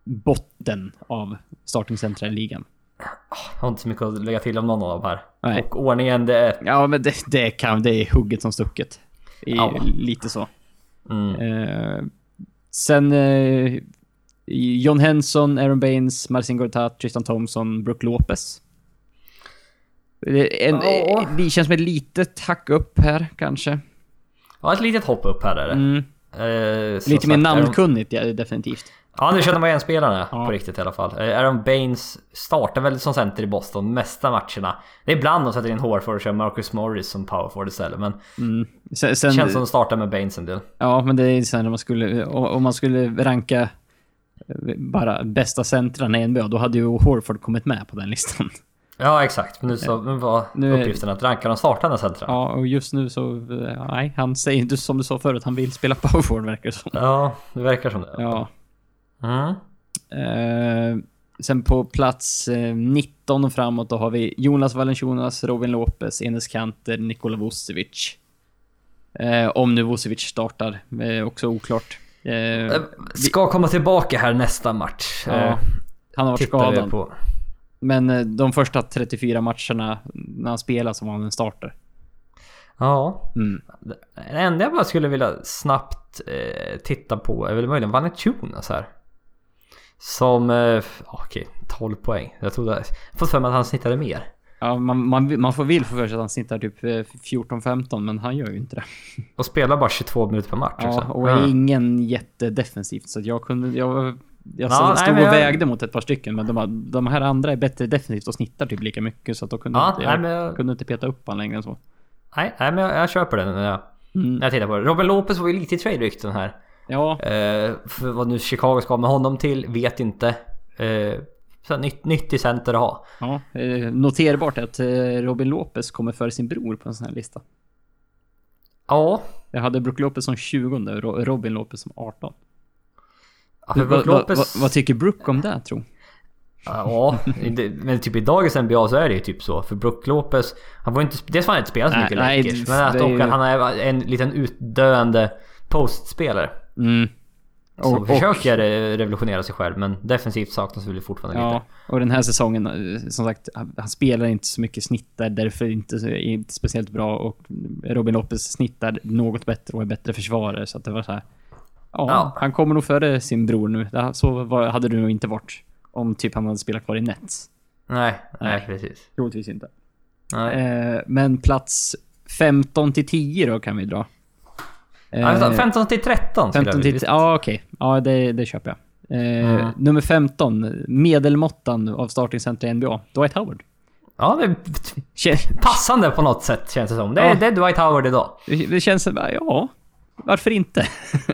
S2: botten av startingcentra i ligan.
S1: Jag har inte så mycket att lägga till om någon av dem här.
S2: Nej.
S1: Och ordningen det är...
S2: Ja, men det, det, kan, det är hugget som stucket. Det är
S1: Ja.
S2: Lite så.
S1: Mm.
S2: Eh, sen eh, John Henson, Aaron Baines, Marcin Gortat, Tristan Thompson, Brook Lopez. Det, är en,
S1: Ja.
S2: eh, det känns som ett litet hack upp här kanske.
S1: Ja, ett litet hopp upp här är det.
S2: Mm.
S1: Eh, som
S2: Lite mer
S1: sagt, Aaron-
S2: namnkunnigt, ja, definitivt.
S1: Ja, nu känner man igen spelarna
S2: Ja.
S1: på riktigt i alla fall. Eh, Aaron Baines startar väl som center i Boston mesta matcherna. Det är ibland de sätter in Horford och kör Marcus Morris som power forward istället. Men
S2: Mm. Sen,
S1: det
S2: sen,
S1: känns som de startar med Baines en del.
S2: Ja, men det är sen när man skulle, om om man skulle ranka eh, bara bästa centrarna i NBA, då hade ju Horford kommit med på den listan.
S1: Ja, exakt. Men nu, så, nu var
S2: Nu är-
S1: uppgiften att ranka de startande centra. Ja.
S2: [laughs] Ja, och just nu så, eh, nej, han säger inte som du sa förut, han vill spela power forward verkar det som.
S1: det verkar som det.
S2: Ja.
S1: Mm.
S2: Eh, sen på plats eh, 19 och framåt då har vi Jonas Valanciunas, Robin Lopez, Enes Kanter, Nikola Vucevic. Eh, om nu Vucevic startar, eh, också oklart. Eh,
S1: Eh, Ska komma tillbaka här nästa match.
S2: ja,
S1: Eh,
S2: han har varit
S1: tittar vi
S2: skadad.
S1: På.
S2: Men eh, de första 34 matcherna när han spelar så var han en starter.
S1: Ja,
S2: Mm.
S1: det enda jag bara skulle vilja snabbt eh, titta på är väl möjligen Vanetunas här. Som, eh, f- ja, okej, 12 poäng. Jag trodde, jag fått för mig att han snittade mer.
S2: Ja, man, man, man får väl få för sig att han snittar typ eh, 14-15, men han gör ju inte det.
S1: Och spelar bara 22 minuter per match
S2: Ja,
S1: också.
S2: och är ingen jättedefensivt, så att jag kunde... Jag, jag
S1: Ja,
S2: stod
S1: nej, men
S2: och
S1: jag-
S2: vägde mot ett par stycken, men de, bara, de här andra är bättre defensivt och snittar typ lika mycket, så att då kunde
S1: Ja,
S2: inte,
S1: nej,
S2: jag
S1: men jag-
S2: kunde inte peta upp han längre än så. Mm.
S1: Nej, nej, men jag, jag köper den när jag, när jag tittar på det. Robin Lopez var ju lite i trade-rykten här.
S2: Ja,
S1: Eh, för vad nu Chicago ska med honom till vet inte. Eh, så här, nytt, nytt i center att ha.
S2: ja. eh, Noterbart att eh, Robin Lopez kommer före sin bror på en sån här lista.
S1: Ja,
S2: Jag hade Brook Lopez som 20 och Robin Lopez som 18.
S1: ja, för
S2: Vad
S1: Brook
S2: vad-
S1: Lopez...
S2: vad- vad tycker Brook om det, tror
S1: Ja, det- men typ i dagens NBA så är det ju typ så. För Brook Lopez, han var ju inte, dels får han inte spela så
S2: Nej,
S1: mycket
S2: nej,
S1: Lakers,
S2: det-
S1: men att,
S2: det är
S1: och
S2: ju-
S1: att han är en liten utdöende postspelare.
S2: Mm.
S1: Som
S2: Och-
S1: försöker eh, revolutionera sig själv, men defensivt saknas väl fortfarande
S2: Ja,
S1: lite.
S2: och den här säsongen, eh, som sagt, han, han spelar inte så mycket snittar, därför inte, så- är inte speciellt bra. Och Robin Lopez snittar något bättre och är bättre försvarare, så att det var så här. Ja,
S1: Ja.
S2: han kommer nog före sin bror nu. Ja, Så var, hade det nog inte varit om typ han hade spelat kvar i Nets.
S1: Nej, nej
S2: Nej.
S1: precis.
S2: Troligtvis inte.
S1: Nej.
S2: Eh, men plats 15 till 10 då kan vi dra. Eh,
S1: Ja, vänta, 15 till 13 skulle
S2: 15
S1: jag
S2: till...
S1: vilja
S2: Ja, okej. Ja, det, det köper jag. Eh,
S1: Mm.
S2: Nummer 15, medelmåttan av starting center i NBA, Dwight Howard.
S1: Ja, det är
S2: Kän-
S1: passande på något sätt känns det som. Det är,
S2: Ja.
S1: det är Dwight Howard idag.
S2: Det känns som, ja, varför inte?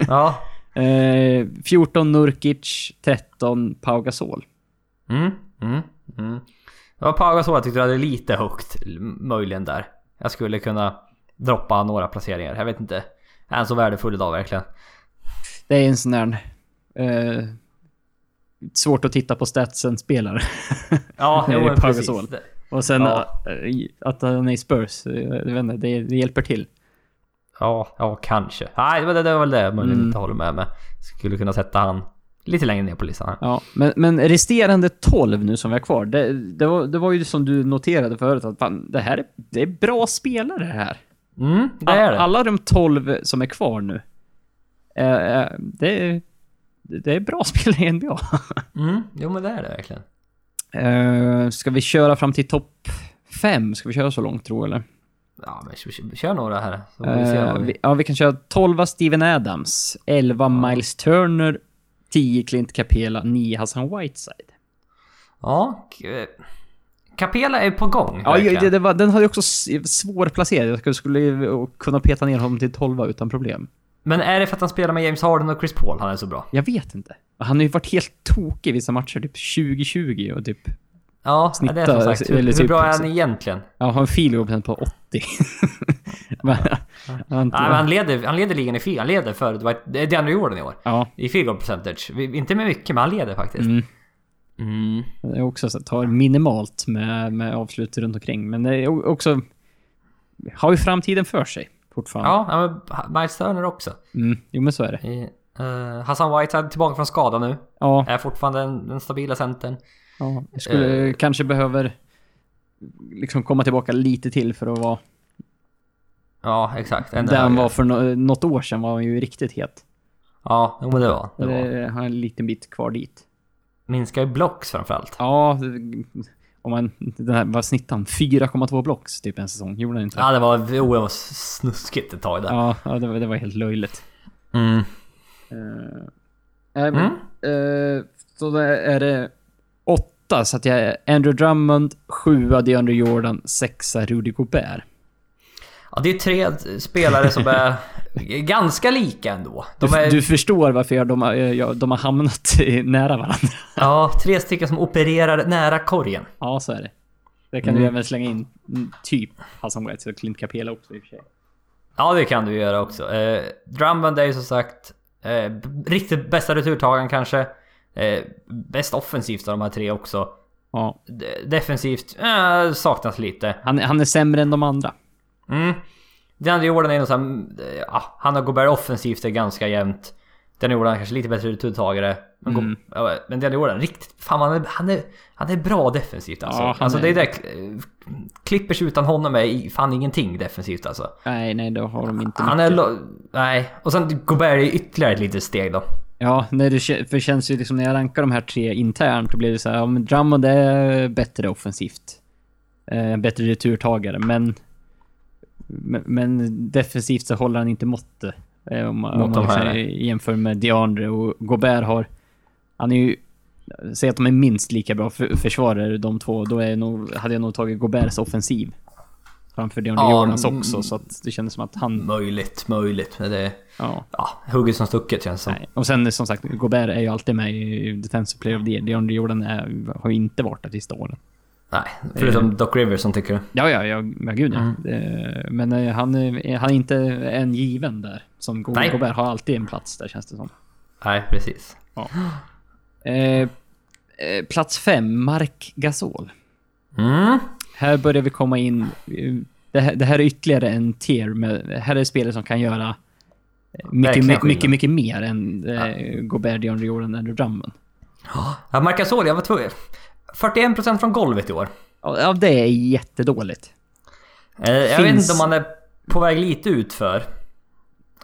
S1: Ja.
S2: eh, 14 Nurkic, 13 Pau Gasol.
S1: Mm, mm, mm. Det var Pagasola tyckte du hade lite högt l- möjligen där. Jag skulle kunna droppa några placeringar. Jag vet inte. Är han så värdefull idag verkligen?
S2: Det är en sån där... Eh, svårt att titta på statsen-spelare.
S1: Ja, [laughs]
S2: Det är
S1: jo, men
S2: Pau
S1: precis.
S2: Gasol.
S1: Det-
S2: [laughs] Och sen
S1: Ja.
S2: eh, att han är i Spurs, eh, jag vet inte, det, det hjälper till.
S1: Ja, ja, kanske. Nej, det var, det, det var väl det jag möjligen
S2: Mm.
S1: inte håller med med. Skulle kunna sätta han lite längre ner på listan. här.
S2: Ja, men, men resterande 12 nu som vi har kvar, det, det, var, det var ju som du noterade förut att fan, det här är, det är bra spelare det här.
S1: Mm, det är det.
S2: Alla de 12 som är kvar nu, eh, eh, det, är- det är bra [laughs] spelare i NBA.
S1: Mm, jo, men det är det verkligen.
S2: Eh, ska vi köra fram till topp 5? Ska vi köra så långt tror jag, eller?
S1: Ja, men kö- kö- kör några här. Så får vi se
S2: Eh,
S1: vad vi...
S2: vi, ja, vi kan köra 12 Steven Adams, 11 Miles Turner, 10 Clint Capela, 9 Hassan Whiteside.
S1: Ja, k- eh, Capela är på gång.
S2: Ja,
S1: verkligen.
S2: ju- det, det var, den hade ju också svår placering. Jag skulle- skulle ju kunna peta ner honom till 12 utan problem.
S1: Men är det för att han spelar med James Harden och Chris Paul han är så bra?
S2: Jag vet inte. Han har ju varit helt tokig i vissa matcher, typ 2020 och typ...
S1: Ja,
S2: Snitta,
S1: det är som sagt. Hur,
S2: eller
S1: hur
S2: typ-
S1: bra är han egentligen?
S2: Ja, har en field goal på 80. [laughs] Men, han,
S1: Nej, men han, leder, han leder ligan i fi, Han leder för Dwight- det är DeAndre Jordan i år.
S2: ja,
S1: I field goal percentage. Vi- Inte med mycket, men han leder faktiskt.
S2: Mm.
S1: Mm.
S2: det är också så att tar minimalt med, med avslut runt omkring. Men det är o- också... Har ju framtiden för sig fortfarande.
S1: Ja, ja, men Miles Turner också.
S2: Mm, jo, men så är det.
S1: I, eh, Hassan Whiteside tillbaka från skada nu.
S2: Ja,
S1: Är fortfarande den, den stabila centern.
S2: Ja, jag skulle
S1: Eh.
S2: kanske behöver liksom komma tillbaka lite till för att vara...
S1: Ja, exakt. Ännu
S2: Där han
S1: högre.
S2: var för nå- något år sedan var han ju riktigt het.
S1: Ja, jo, men det var det. Var.
S2: Det har en liten bit kvar dit.
S1: Minskar ju blocks framförallt.
S2: Ja, det- om man... Den här, vad snittade han? 4,2 blocks typ en säsong. Gjorde han inte det?
S1: Ja, det var, oh, det var snuskigt ett tag där.
S2: Ja, ja det, var, det var helt löjligt.
S1: Mm.
S2: Eh, nej, men, eh, så då är det åtta, så att jag är Andrew Drummond, sjua DeAndre Jordan, sexa Rudy Gobert.
S1: Ja, det är ju tre spelare som
S2: [laughs]
S1: är ganska lika ändå. De
S2: Du,
S1: är,
S2: du förstår varför jag, de, har, eh, jag, de har hamnat [laughs] eh, nära varandra.
S1: Ja, tre stycken som opererar nära korgen.
S2: Ja, så är det. Där kan du även slänga in mm, typ Hassan Whiteside och Clint Capela också i och för sig.
S1: Ja, det kan du ju göra också. Eh, Drummond är ju som sagt eh, b- riktigt bästa returtagaren kanske. Eh, bäst offensivt av de här tre också.
S2: Ja,
S1: De- defensivt eh, saknas lite.
S2: han, han är sämre än de andra.
S1: Mm. DeAndre Jordan är nog såhär... Eh, ja, han och Gobert offensivt är ganska jämnt. DeAndre Jordan kanske lite bättre returtagare. Men, Go-
S2: Mm.
S1: ja, men DeAndre Jordan, riktigt... Fan han är, han är, han är bra defensivt alltså.
S2: Ja, han
S1: alltså
S2: är-
S1: det är det... eh, Clippers utan honom är i- fan ingenting defensivt alltså.
S2: Nej, nej, då har de inte
S1: Han
S2: mycket.
S1: är... lo- Nej. Och sen Gobert är ytterligare ett litet steg då.
S2: Ja, när det, kä- för det känns ju liksom när jag rankar de här tre internt, då blir det så här, ja men Drummond är bättre offensivt. Eh, bättre returtagare, men... Men, men defensivt så håller han inte måttet. Eh, om, man- om
S1: Mot de
S2: man liksom
S1: här.
S2: jämför med DeAndre och Gobert har... Han är ju... Säg att de är minst lika bra för, försvarare de två, då är jag nog, hade jag nog tagit Goberts offensiv. Framför DeAndre
S1: Ja,
S2: Jordans
S1: mm.
S2: också, så att det kändes som att han...
S1: Möjligt, möjligt. Men det är...
S2: Ja.
S1: Ja, hugget som stucket känns som.
S2: Nej. Och sen som sagt, Gobert är ju alltid med i Defensive Player of the Year. DeAndre Jordan är, har ju inte varit det sista åren.
S1: Nej. Förutom Doc Rivers som tycker det.
S2: Ja, ja, ja, ja gud ja.
S1: Mm.
S2: Eh, Men eh, han, är- han är inte en given där. Som Go-
S1: Nej.
S2: Gobert har alltid en plats där känns det som.
S1: Nej, precis.
S2: Eh, eh, Plats fem, Mark Gasol.
S1: Mm.
S2: Här börjar vi komma in. eh, Det här, det här är ytterligare en tier. Med, här är spelare som kan göra eh, mycket,
S1: Verkligen
S2: mycket, mycket,
S1: skillnad.
S2: mycket mer än eh, Gobert, DeAndre Jordan, Andrew Drummond.
S1: Ja, Marcasol, jag var tvungen. 41% från golvet i år.
S2: Ja, ja, det är jättedåligt.
S1: Eh, Jag vet
S2: Finns-
S1: inte om han är på väg lite ut för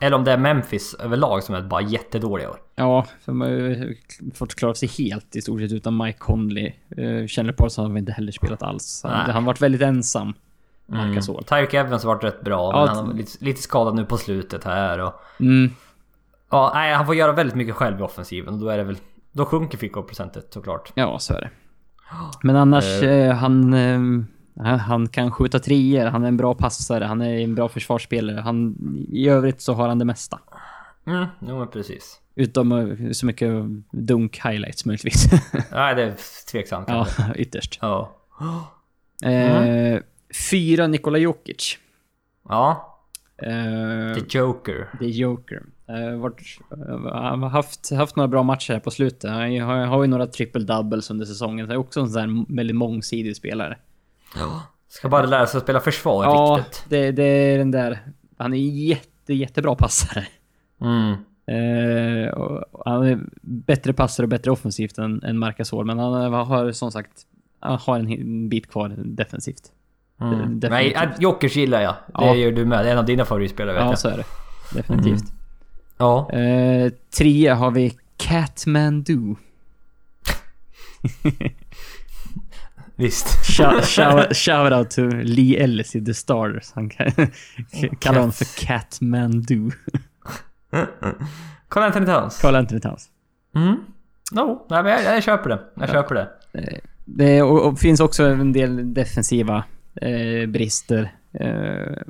S1: Eller om det är Memphis överlag som är bara jättedåliga i år.
S2: Ja, för man har ju fått klara sig helt i stort sett utan Mike Conley. Uh, Känner på har vi inte heller spelat alls. Han,
S1: Nej.
S2: han varit väldigt ensam. Marcus Hall.
S1: Tyreek Evans har varit rätt bra,
S2: Ja,
S1: men han var lite, lite skadad nu på slutet här. Och,
S2: Mm.
S1: ja, nej, han får göra väldigt mycket själv i offensiven och då är det väl... Då sjunker fickor-procentet såklart.
S2: Ja, så är det. Men annars, eh, han, eh, han, han kan skjuta treor, han är en bra passare, han är en bra försvarsspelare. Han, I övrigt så har han det mesta.
S1: Mm, jo men precis.
S2: Utom eh, så mycket dunk-highlights möjligtvis. [laughs]
S1: Nej, det är tveksamt
S2: ja,
S1: kanske.
S2: ytterst.
S1: Ja.
S2: Eh, fyra, Nikola Jokic.
S1: Ja.
S2: Eh,
S1: The Joker.
S2: The Joker. Eh, varit, eh, han har haft, haft några bra matcher här på slutet. Han har, har ju några triple doubles under säsongen. Så är också en sån där väldigt mångsidig spelare.
S1: Ska bara lära sig att spela försvar
S2: Ja,
S1: riktigt.
S2: det, det är den där. Han är jätte, jättebra passare.
S1: Mm.
S2: Eh, och- och han är bättre passare och bättre offensivt än, än Marcus Hall, men han har som sagt han har en hi- bit kvar defensivt.
S1: Mm.
S2: Det-
S1: Nej,
S2: definitivt.
S1: äh, Jokers gillar jag.
S2: Ja.
S1: Det gör du med. Det är en av dina favoritspelare vet
S2: Ja,
S1: jag.
S2: så är det. Definitivt.
S1: Ja.
S2: Eh, trea har vi Catmandu.
S1: Visst.
S2: Shout, shout, shout out to Lee Ellis i The Stars. Han [laughs] kan, kallar honom för Catmandu.
S1: Carl Anthony Towns.
S2: Carl Anthony Towns.
S1: Mm. No. Nej men jag, jag köper det. Jag köper det.
S2: Det och, och finns också en del defensiva eh, brister. Eh,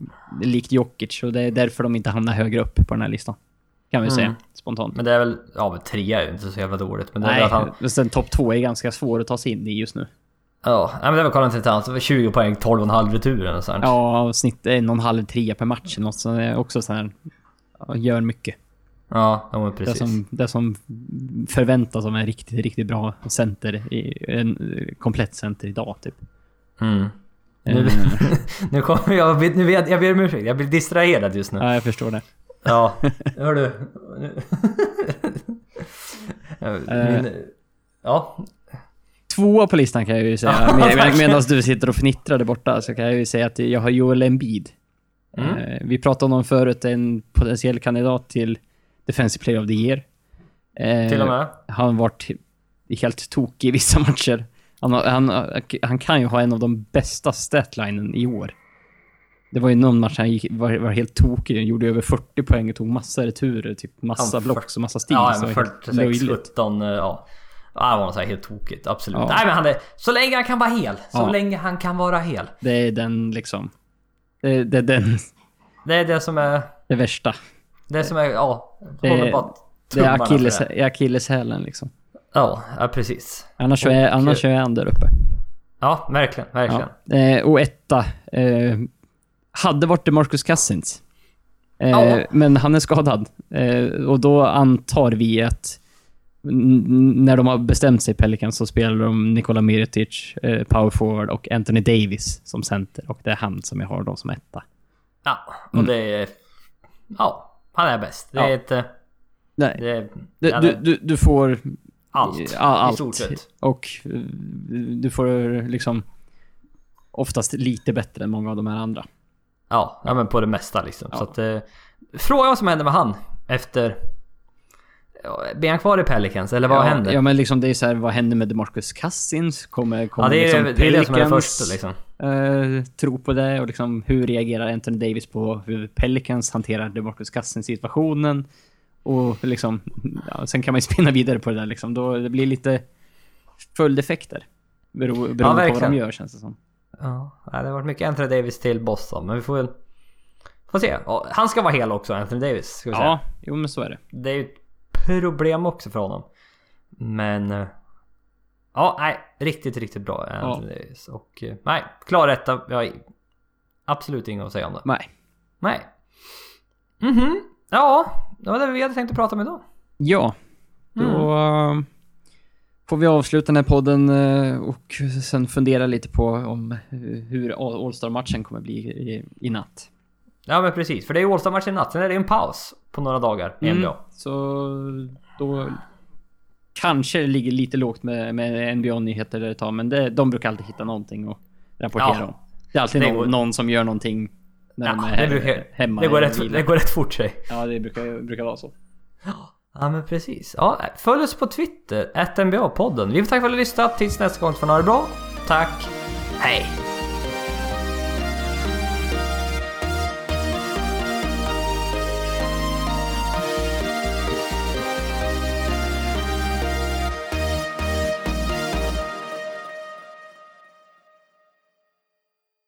S2: likt Jokic. Och det är därför de inte hamnar högre upp på den här listan. Kan vi
S1: Mm.
S2: säga spontant.
S1: Men det är väl... Ja men trea är ju inte så jävla dåligt. Men det är väl
S2: Nej,
S1: att han...
S2: och sen topp två är ganska svår att ta sig in i just nu.
S1: Ja. Nej men det var Carl Anthony Towns. Det var 20 poäng, 12,5 returer eller sånt.
S2: Ja, och snitt en och en halv trea per match. Något som är också så här, ja, gör mycket.
S1: Ja, ja men
S2: Det
S1: precis.
S2: som, det som förväntas av en riktigt, riktigt bra center, i- en eh, komplett center idag typ.
S1: Mm. Nu,
S2: Eh,
S1: nu kommer jag... Nu vet, jag ber om ursäkt. Jag blir distraherad just nu.
S2: ja, jag förstår det.
S1: Ja, [laughs] hör
S2: [laughs]
S1: du.
S2: Eh.
S1: Min, ja.
S2: Tvåa på listan kan jag ju säga. [laughs]
S1: Ja,
S2: Med,
S1: verkligen.
S2: Medan du sitter och fnittrar där borta så kan jag ju säga att jag har Joel Embiid.
S1: Mm.
S2: Eh, Vi pratade om honom förut, en potentiell kandidat till Defensive Player of the Year. Eh,
S1: Till och med.
S2: Han har varit helt tokig i vissa [laughs] matcher. Han, har, han, han kan ju ha en av de bästa statlinen i år. Det var ju någon match han gick, var, var helt tokig. Han gjorde över 40 poäng och tog massa returer, typ massa
S1: Han-
S2: blocks och massa steals.
S1: Ja, men
S2: Det var helt
S1: 46,
S2: löjligt.
S1: 17, eh, ja. Ja, det var något så här helt tokigt. Absolut.
S2: Ja.
S1: Nej men han är... Så länge han kan vara hel. Så
S2: Ja.
S1: länge han kan vara hel.
S2: Det är den liksom... Det, det är den, [laughs]
S1: Det är det som är...
S2: det värsta.
S1: Det som är... Ja.
S2: Det-
S1: Håller bara
S2: Det är
S1: tummarna för
S2: akilles,
S1: det.
S2: är akilleshälen liksom.
S1: Ja, ja precis.
S2: Annars, är, annars är han där uppe.
S1: Ja, verkligen. Verkligen.
S2: Ja. Eh, och etta. Eh, hade varit Marcus Cousins. Eh,
S1: Ja.
S2: Men han är skadad. Eh, och då antar vi att n- n- när de har bestämt sig Pelican så spelar de Nikola Mirotic, eh, power forward och Anthony Davis som center. Och det är han som jag har dem som etta.
S1: Ja, och det är... Ja, han är bäst. Det är
S2: Mm. Ja.
S1: ett... eh,
S2: Nej,
S1: Det är,
S2: du,
S1: han
S2: du,
S1: är
S2: du, du får...
S1: allt.
S2: Ja, allt.
S1: I stort sett.
S2: Och eh, du får liksom oftast lite bättre än många av de här andra.
S1: Ja, ja men på det mesta liksom.
S2: Ja.
S1: Så att, eh, fråga vad som händer med han efter... Ja, Blir han kvar i Pelicans eller vad
S2: ja,
S1: händer?
S2: Ja,
S1: Ja,
S2: men liksom det är så här, vad händer med DeMarcus Cousins? Kommer, kommer
S1: det, är,
S2: liksom
S1: det är det som är det
S2: Pelicans,
S1: första liksom.
S2: eh, tro på det och liksom hur reagerar Anthony Davis på hur Pelicans hanterar DeMarcus Cousins situationen? Och liksom, ja, sen kan man ju [laughs] spinna vidare på det där liksom. Då det blir lite följdeffekter. Bero, beroende på vad
S1: verkligen.
S2: de gör känns det som.
S1: Ja, nej, det har varit mycket Anthony Davis till Boston, men vi får väl... Får se. Ja, Han ska vara hel också, Anthony Davis. Ska vi säga.
S2: Ja, jo men så är det.
S1: Det är ju ett problem också för honom. Men... eh, Ja, nej. Riktigt, riktigt bra Anthony Davis. Och eh, nej, klar etta. Jag har absolut inget att säga om det.
S2: Nej.
S1: Nej. Mhm. Ja, det var det vi hade tänkt att prata om idag.
S2: Ja, då
S1: Mm.
S2: eh, får vi avsluta den här podden eh, och sen fundera lite på om hu- hur All- All-Star-matchen kommer bli i, i natt.
S1: Ja men precis, för det är ju All-Star-match i natt. Sen är det ju en paus på några dagar i NBA.
S2: Så då kanske det ligger lite lågt med, med NBA-nyheter där ett tag, men det, de brukar alltid hitta någonting och rapportera
S1: Ja.
S2: om. Det är alltid
S1: Det går-
S2: någon, någon som gör någonting när de
S1: Ja,
S2: är
S1: det, brukar,
S2: hemma.
S1: det, går
S2: eller
S1: rätt,
S2: vilar.
S1: det går rätt fort sig.
S2: Ja, det brukar, brukar vara så.
S1: Ja men precis. Ja, följ oss på Twitter, NBA-podden. Vi får tacka för att ni har lyssnat. Tills nästa gång får ni ha det bra. Tack. Hej.